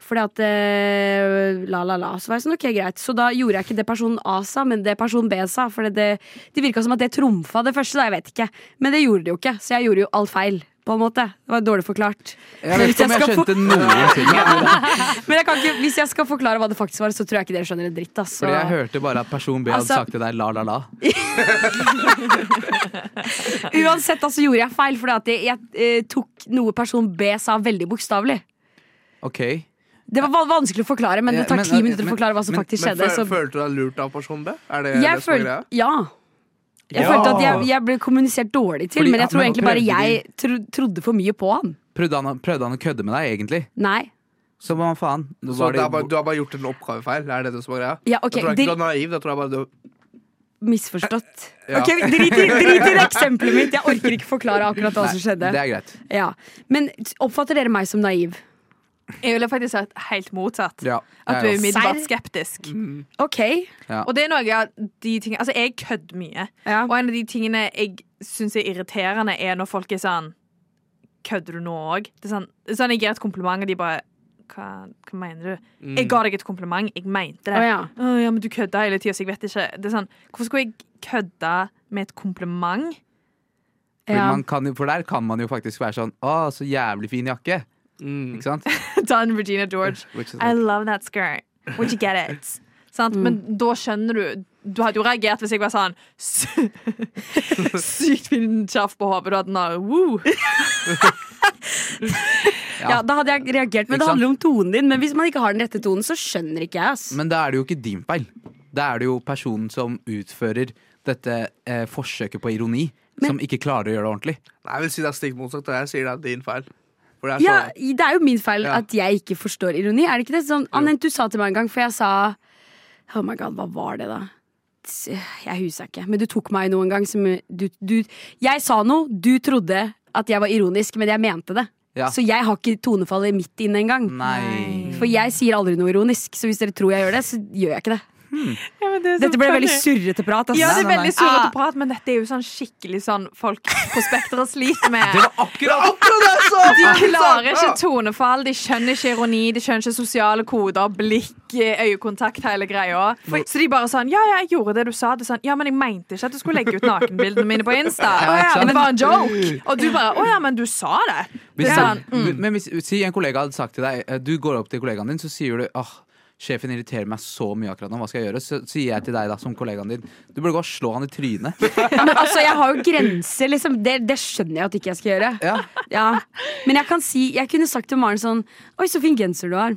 Fordi at eh, la, la, la. Så var jeg sånn, ok, greit. Så da gjorde jeg ikke det personen A sa, men det personen B sa. For det, det, det virka som at det trumfa det første, da. Jeg vet ikke. Men det gjorde det jo ikke. Så jeg gjorde jo alt feil, på en måte. Det var dårlig forklart.
Jeg
Men
vet
hvis
ikke om jeg
skal få-
skjønte noen ting.
men jeg kan ikke, hvis jeg skal forklare hva det faktisk var, så tror jeg ikke dere skjønner en dritt. altså. ass. Så-
Fordi jeg hørte bare at person B hadde
Altså-
sagt til deg la, la, la.
Uansett altså, gjorde jeg feil, fordi at jeg, jeg eh, tok noe person B sa veldig bokstavelig.
Ok.
Det var van- vanskelig å forklare, men det tar
Men,
ti
eh,
minutter å
men-
forklare hva som
men-
faktisk
Men
skjedde.
føl,
Så
følte du deg lurt av person B? Er det
jeg
det som er
følte
greia?
Ja. Jeg
Ja.
følte at jeg, jeg ble kommunisert dårlig til,
Fordi-
men jeg tror
men
egentlig bare
prøvde
jeg tro, trodde for mye på han.
Prøvde han, å- prøvde han å kødde med deg, egentlig?
Nei.
Så hva faen? Nå
Så
var
det er bare,
det,
du har bare gjort en oppgavefeil? Er det det som er greia?
Ja, ok,
Jeg tror ikke
dere-
du er naiv. Jeg tror jeg bare du
misforstått.
Ja.
Ok, Drit i, drit i det eksempelet mitt. Jeg orker ikke forklare akkurat hva som
Det
skjedde.
er greit.
Ja. Men oppfatter dere meg som naiv?
Jeg ville faktisk sagt helt motsatt.
Ja, Mm.
At du er
jeg, også.
umiddelbart
Serr?
skeptisk.
OK.
Og det er noe av de tingene Altså, jeg kødder mye.
Ja.
Og en av de tingene jeg syns er irriterende, er når folk er sånn Kødder du nå òg? Det er Sånn, det er sånn, jeg gir et kompliment, og de bare hva, hva mener du? Jeg ga deg et kompliment. Jeg mente det.
Mm. Å, ja.
Å, ja, men du kødda hele tida, så jeg vet ikke. Det er sånn, hvorfor skulle jeg kødde med et kompliment?
For,
Ja.
man kan, jo- for der kan man jo faktisk være sånn Å, så jævlig fin jakke.
mm.
Ikke sant?
Done Regina George.
Which is
I
like-
love that skirt. Would you get it? Sant?
Mm.
Men da skjønner du Du hadde jo reagert hvis jeg var sånn sy- Sykt fin skjerf på hodet. Du hadde den der woo.
Ja, da hadde jeg reagert, men
Ikke
det
sant?
handler om tonen din. Men hvis man ikke har den rette tonen, så skjønner ikke jeg. ass.
Men da er det jo ikke din feil. Da er det jo personen som utfører dette eh, forsøket på ironi, som ikke klarer å gjøre det ordentlig.
Nei, jeg vil si det er stikk motsatt, og jeg sier det er din feil. For det er sånn- så,
Ja, det er jo min feil
Ja.
at jeg ikke forstår ironi. Er det ikke det? Sånn, Anent, du sa til meg en gang, for jeg sa Oh my god, hva var det, da? S- Jeg husker ikke. Men du tok meg noen gang som du, du Jeg sa noe, du trodde at jeg var ironisk, men jeg mente det.
Ja.
Så jeg har ikke tonefallet mitt inne engang.
Nei.
For jeg sier aldri noe ironisk, så hvis dere tror jeg gjør det, så gjør jeg ikke det. Dette ble veldig surrete prat. ass.
Ja, det
Nei, nei,
er
nei.
veldig
Ah.
surrete prat, men dette er jo sånn skikkelig sånn folk på Spekteret sliter med.
Det var akkurat akkurat det jeg sa!
De klarer ikke tonefall, de skjønner ikke ironi, de skjønner ikke sosiale koder, blikk, eh, øyekontakt, hele greia. Så de bare sånn Ja, ja, jeg gjorde det du sa. Du sånn, ja, men jeg mente ikke at du skulle legge ut nakenbildene mine på Insta. Å ja, men det var en joke. Og du bare Å ja, men du sa det.
Hvis,
Det er sånn,
Mm.
du- Men hvis si en kollega hadde sagt til deg eh, Du går opp til kollegaen din, så sier du åh, Sjefen irriterer meg så mye akkurat nå, hva skal jeg gjøre? Så sier jeg til deg da, som kollegaen din, du burde gå og slå han i trynet.
Men altså, jeg har jo grenser, liksom. Det, det skjønner jeg at ikke jeg skal gjøre.
Ja.
Ja. Men jeg kan si Jeg kunne sagt til Maren sånn Oi, så fin genser du har.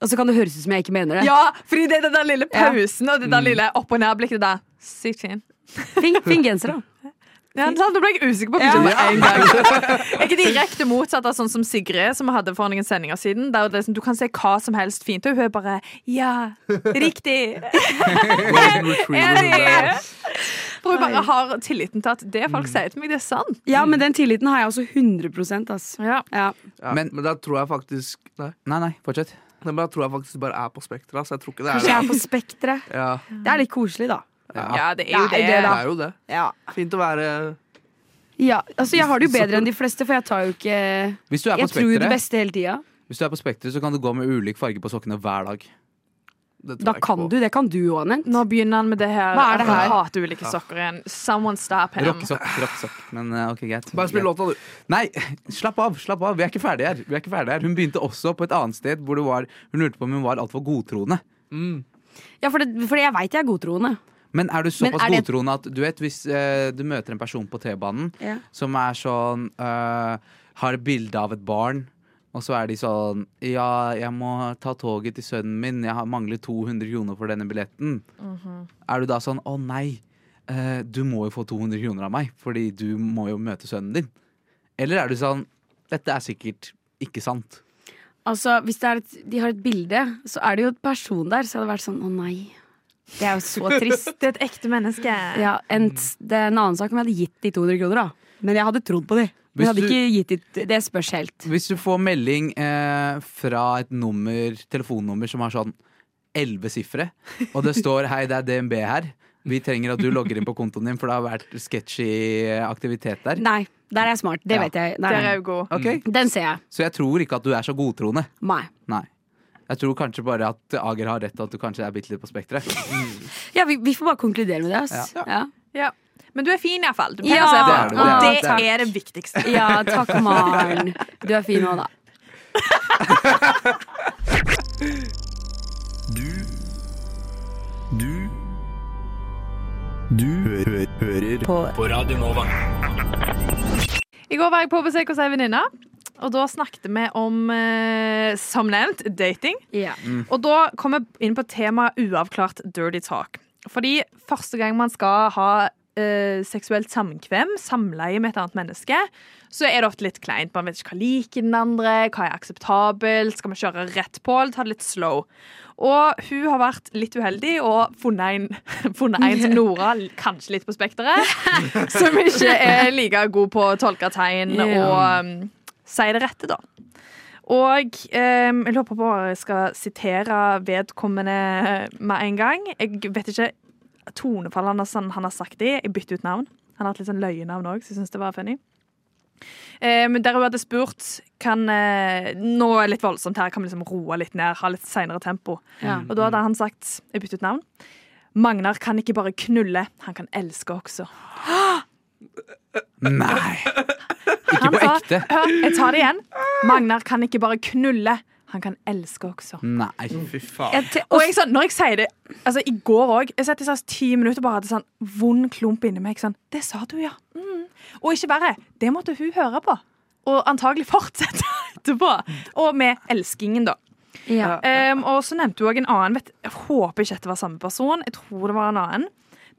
Og så kan det høres ut som jeg ikke mener det.
Ja, fordi det er den der lille pausen og det der lille opp- og ned-blikket der. Sykt fin.
Fin, fin genser, da.
Ja, sant? Da ble jeg usikker på ja. en gang. Jeg er direkte motsatt av sånn som Sigrid, som vi hadde for noen sendinger siden. Der det er sånn, du kan se hva som helst fint, og hun er bare Ja, riktig.
Golden Retriever,
Enig.
det er-
For hun bare har tilliten til at det folk sier til meg, det er sant.
Ja, men den tilliten har jeg også 100 ass.
Ja.
Ja.
ja, men,
Men-
da tror jeg faktisk Nei,
Nei, nei, fortsett.
Nei, men da tror jeg faktisk det bare er på spekteret. ass. Jeg tror ikke det er
Kanskje jeg er på Spekteret.
Ja,
Det er litt koselig, da.
Ja, det er jo det.
Det er
det
da.
er jo det.
Ja.
Fint å være
altså Jeg har det jo bedre enn de fleste, for jeg tar jo ikke Jeg
Hvis du er på
tror jo det
spekteret,
beste hele tida.
hvis du er på spekteret, så kan du gå med ulik farge på sokkene hver dag.
det tror
Da
jeg ikke
kan
på.
du. Det kan du òg, Anent.
Nå begynner han med det her.
Hva er det her?
Jeg hater ulike sokker igjen. Someone stop him.
Rockesokk, rockesokk. Men eh, ok, greit.
Bare spill låta, du.
Nei, slapp av. slapp av Vi er ikke ferdige her. Vi er ikke ferdige her Hun begynte også på et annet sted hvor det var hun lurte på om hun var altfor godtroende.
Mm.
Ja, for, det, for jeg veit jeg er godtroende.
Men er du såpass
er det-
godtroende at du vet hvis eh, du møter en person på T-banen
Ja.
som er sånn eh, Har et bilde av et barn, og så er de sånn Ja, jeg må ta toget til sønnen min. Jeg har mangler 200 kroner for denne billetten.
Mhm.
Er du da sånn Å nei, eh, du må jo få 200 kroner av meg, fordi du må jo møte sønnen din. Eller er du sånn Dette er sikkert ikke sant.
Altså, Hvis det er et, de har et bilde, så er det jo et person der. Så hadde det vært sånn Å, nei. Det er jo så trist.
Det er et ekte menneske.
Ja, en, det er en annen sak om jeg hadde gitt de 200 kroner, da. Men jeg hadde trodd på de. Men jeg
Hvis
hadde
du-
ikke gitt de, Det spørs helt.
Hvis du får melding eh, fra et nummer, telefonnummer som har sånn elleve sifre, og det står 'hei, det er DNB her', vi trenger at du logger inn på kontoen din, for det har vært sketchy aktivitet der.
Nei, der er jeg smart. Det
Ja.
vet jeg. Nei,
Der
nei.
er hun god.
Ok,
Den ser jeg.
Så jeg tror ikke at du er så godtroende.
Nei.
Nei. Jeg tror kanskje bare at Ager har rett, og at du kanskje er bitte litt på spekteret.
Ja, vi, vi får bare konkludere med det. Ass. Ja. Ja.
Ja. Men du er fin, iallfall. Du
Ja.
ja. se på.
Det er du, det er du,
Og
det er du.
det er det viktigste.
takk, Maren. Du er fin òg, da.
Du Du Du hø hø hører på. Radio Nova.
I går var jeg på besøk hos ei venninne, og da snakket vi om, eh, som nevnt, dating.
Ja.
Mm.
Og da kom jeg inn på temaet uavklart dirty talk. Fordi første gang man skal ha eh, seksuelt samkvem, samleie med et annet menneske, så er det ofte litt kleint. Man vet ikke hva liker den andre, hva er akseptabelt, skal man kjøre rett på, eller ta det litt slow. Og hun har vært litt uheldig og funnet en, funnet en som Nora, kanskje litt på spekteret, som ikke er like god på å tolke tegn og um, si det rette, da. Og um, jeg håper på at jeg skal sitere vedkommende med en gang. Jeg vet ikke tonefallet han, har- sånn han har sagt det i. Jeg bytter ut navn. Han har hatt litt sånn løyenavn òg, så jeg syns det var funny. Eh, Men der hun hadde spurt kan, eh, Nå er det litt voldsomt her, kan vi liksom roe litt ned, ha litt seinere tempo. Og da hadde han sagt Jeg byttet ut navn. Magnar kan ikke bare knulle, han kan elske også.
Nei!
Ikke
på ekte.
Hør, jeg tar det igjen. Magnar kan ikke bare knulle, han kan elske også.
Nei.
Fy faen.
Jeg te-
Og jeg, sånn, når jeg sier det altså I går òg. Jeg satt i sånn ti minutter og bare hadde sånn vond klump inni meg. Sånn, det sa du, ja. Mm. Og ikke verre. Det måtte hun høre på. Og antagelig fortsette etterpå. Og med elskingen, da.
Ja.
Ehm, og så nevnte hun òg en annen. Vet, jeg håper ikke dette var samme person. Jeg tror det var en annen.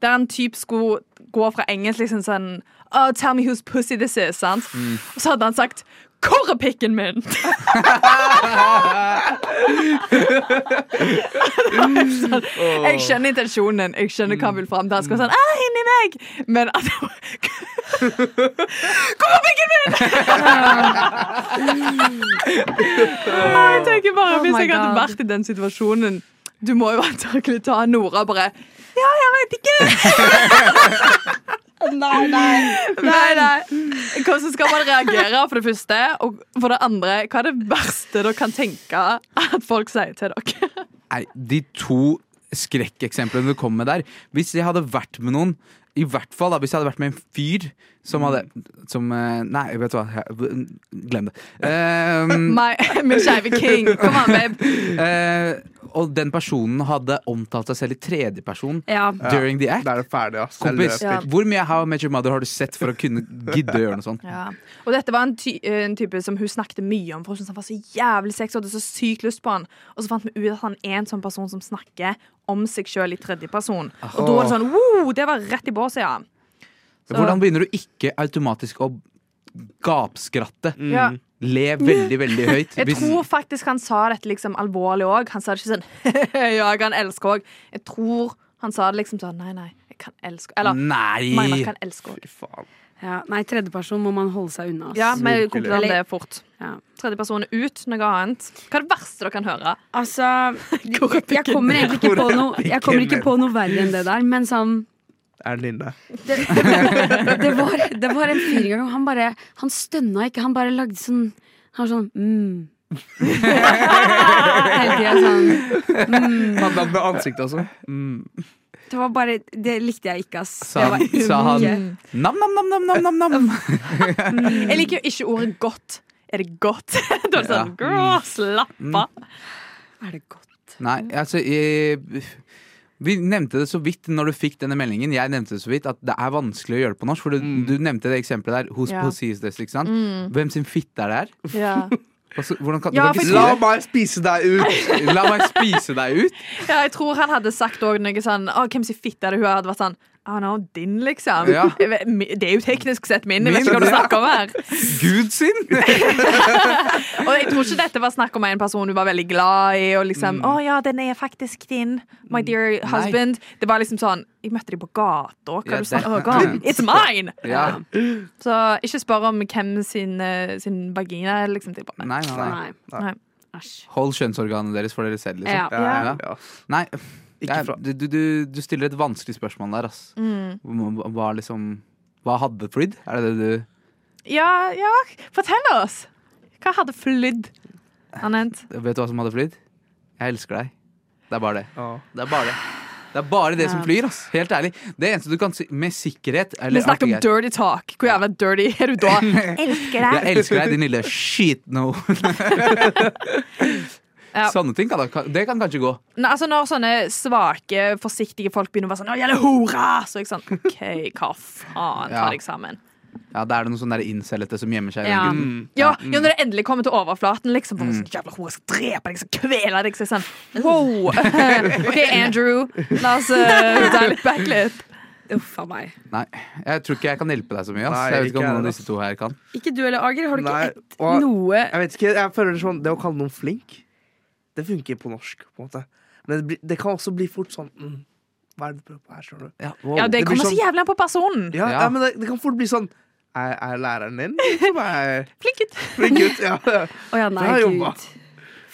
Der en typ skulle gå fra engelsk liksom sånn oh, Tell me whose pussy this is. Sant?
Mm.
Og så hadde han sagt Korrepikken min! sånn, jeg skjønner intensjonen, jeg skjønner hva han vil fram til. Han skal være sånn ah, inni meg! Men at Korrepikken min! Nei, jeg tenker bare
Oh
Hvis
my
jeg hadde
God.
vært i den situasjonen Du må jo antakelig ta Nora bare Ja, jeg vet ikke
Nei, nei.
Nei, nei Hvordan skal man reagere for det første Og for det andre, hva er det verste dere kan tenke At folk sier til dere
Nei, de to skrekkeksemplene du kom med der Hvis jeg hadde vært med noen I hvert fall da, hvis jeg hadde vært med en fyr Som hadde som, eh, Nei, vet du hva, jeg- glem det Ehm,
My, Min skjeve king, kom an babe
eh, Og den personen hadde omtalt seg selv i tredje person
Ja.
During the act
Da er det ferdig, ass. Det er
Kompis,
løpspill.
hvor mye How I Met Your Mother har du sett For å kunne gidde å gjøre noe sånt
ja. Og dette var en, ty eh, en type som hun snakket mye om For hun syntes han var så jævlig sex og hadde så sykt lyst på han Og så fant vi ut at han er en sånn person som snakker Om seg selv i tredje person Og da var det sånn, wow, det var rett i båset, ja
Hvordan begynner du ikke automatisk å gapskratte
Ja,
Le veldig, veldig høyt
jeg
Mm. hvis-
tror faktisk han sa dette liksom alvorlig òg. Han sa det ikke sånn Ja, jeg kan elske òg. Jeg tror han sa det liksom sånn Nei, nei, jeg kan elske Eller Magnar
Nei
kan elske òg.
Fy faen.
Ja, nei, tredjeperson må man holde seg unna. ass.
Ja, vi konkluderer det fort.
Ja.
Tredjeperson er ut, noe annet. Hva er det verste dere kan høre?
Altså, jeg, jeg kommer egentlig ikke på noe Jeg kommer ikke på noe verre enn det der, men sånn
Er det Linda?
det, det, det, var, det var en fyr en gang, og han bare Han stønna ikke, han bare lagde sånn Han var sånn mm. Hele tida sånn.
Han hadde med ansiktet også. Mm.
Det var bare Det likte jeg ikke, ass. Det
Sa,
var
sa han
ikke-
Nam, nam, nam, nam, nam, nam, nam.
Jeg liker jo ikke ordet godt. Er det godt? da er det sånn Girl, slapp av.
Er det godt?
Nei, altså jeg, Vi nevnte det så vidt når du fikk denne meldingen. Jeg nevnte det så vidt At det er vanskelig å gjøre det på norsk. For du,
Mm.
du nevnte det eksempelet der. Who's
Ja.
pussy is this? Ikke sant? Hvem sin fitte er det her?
Ja.
Altså, hvordan kan,
Ja,
du kan
for-
ikke
La
si
meg spise deg ut!
det. La meg spise deg ut!
ja, jeg tror han hadde sagt òg noe sånn Å, hvem sin fitte er det hun er? hadde vært sånn Å, nå, din, liksom.
Ja.
Jeg vet- Det er jo teknisk sett min. Jeg vet
Min,
ikke hva du
ja.
snakker om her.
Gud sin!
Og jeg tror ikke dette var snakk om en person du var veldig glad i. Og
Mm.
liksom, å ja, den er faktisk din, my dear husband Det var liksom sånn Jeg møtte dem på gata. Hva
Ja,
du snakker
det-
Å, God, It's mine!
Ja.
Så ikke spør om hvem sin, eh, sin vagina er liksom tilbake.
Nei, nei, nei.
Nei.
Nei.
Æsj.
Hold kjønnsorganene deres for dere selv, liksom.
Ja.
Ja, ja.
Nei,
Ikke fra.
du, du, du, du stiller et vanskelig spørsmål der, ass.
Mm.
Hva, hva liksom Hva hadde flydd? Er det det du
Ja, ja, fortell oss! Hva hadde flydd? Anent.
Vet du hva som hadde flydd? Jeg elsker deg. Det er bare det.
Ja.
Det er bare det. Det er bare det som flyr, ass. Helt ærlig. Det eneste du kan si med sikkerhet
Vi
eller,
snakket om
Ok, jeg-
dirty talk. Hvor jævla dirty er du da? Elsker
sånn- Jeg elsker deg, din lille shit no.
Ja.
Sånne ting kan da Det kan kanskje gå.
Nei, altså Når sånne svake, forsiktige folk begynner å være sånn 'Å, gjelder hora!' Så er jeg sånn OK, hva faen? Ta
Ja.
deg sammen.
Ja, Da er det noe sånn der incellete som gjemmer seg i
Ja.
den gutten.
Mm.
Ja, ja, Når det endelig kommer til overflaten, liksom. Bare sånn, jævla hora, jeg skal drepe deg, jeg skal kvele deg. Så er jeg sånn Wow! OK, Andrew. La oss uh, dial it eh, back litt.
Uff a meg.
Nei, jeg tror ikke jeg kan hjelpe deg så mye. Ass.
Nei,
jeg vet ikke
ikke
om noen
jeg
av
heller,
disse to her kan.
Ikke du eller Ager. Har du
Nei,
ikke ett
og-
noe
Jeg vet ikke, jeg føler sånn Det å kalle noen flink, det funker på norsk, på en måte. Men det, blir, det kan også bli fort sånn mm, Hva er det du prøver på her, skjønner du?
Ja, wow.
Ja, det
Det blir
kommer så
sånn-
jævlig an på personen.
Ja,
Ja.
ja. men det, det kan fort bli sånn Er, er læreren din som er
Flink gutt.
flink gutt? Ja.
Å ja, nei,
Bra
gud.
jobba.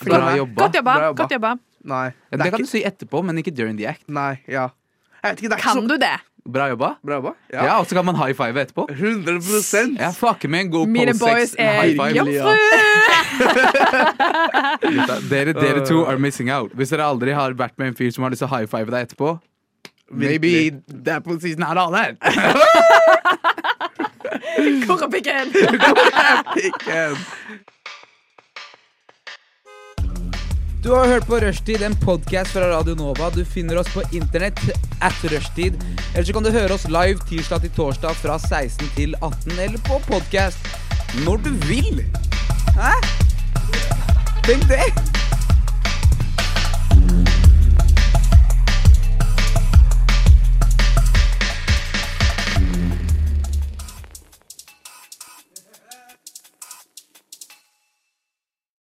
Bra jobba.
Godt jobba.
Bra jobba.
Godt jobba.
Nei.
Ja,
Det
det
er
kan du
ikke
si etterpå, men ikke during the act.
Nei, ja. Jeg vet ikke, det er
Kan
ikke så
du det?
Bra jobba.
Bra jobba.
Ja,
Ja.
Og så kan man high five etterpå.
100
Jeg fucker med en god
Mine
pose
boys
sex
er
high five.
Virkelig, ja.
Gutta, Dere, dere to are missing out. Hvis dere aldri har vært med en fyr som har lyst til å high five deg etterpå, maybe that position er all that.
Korrepikken.
Pikken.
Du har hørt på Rushtid, en podkast fra Radio Nova. Du finner oss på internett at rushtid. Eller så kan du høre oss live tirsdag til torsdag fra 16 til 18, eller på podkast når du vil. Hæ? Tenk det!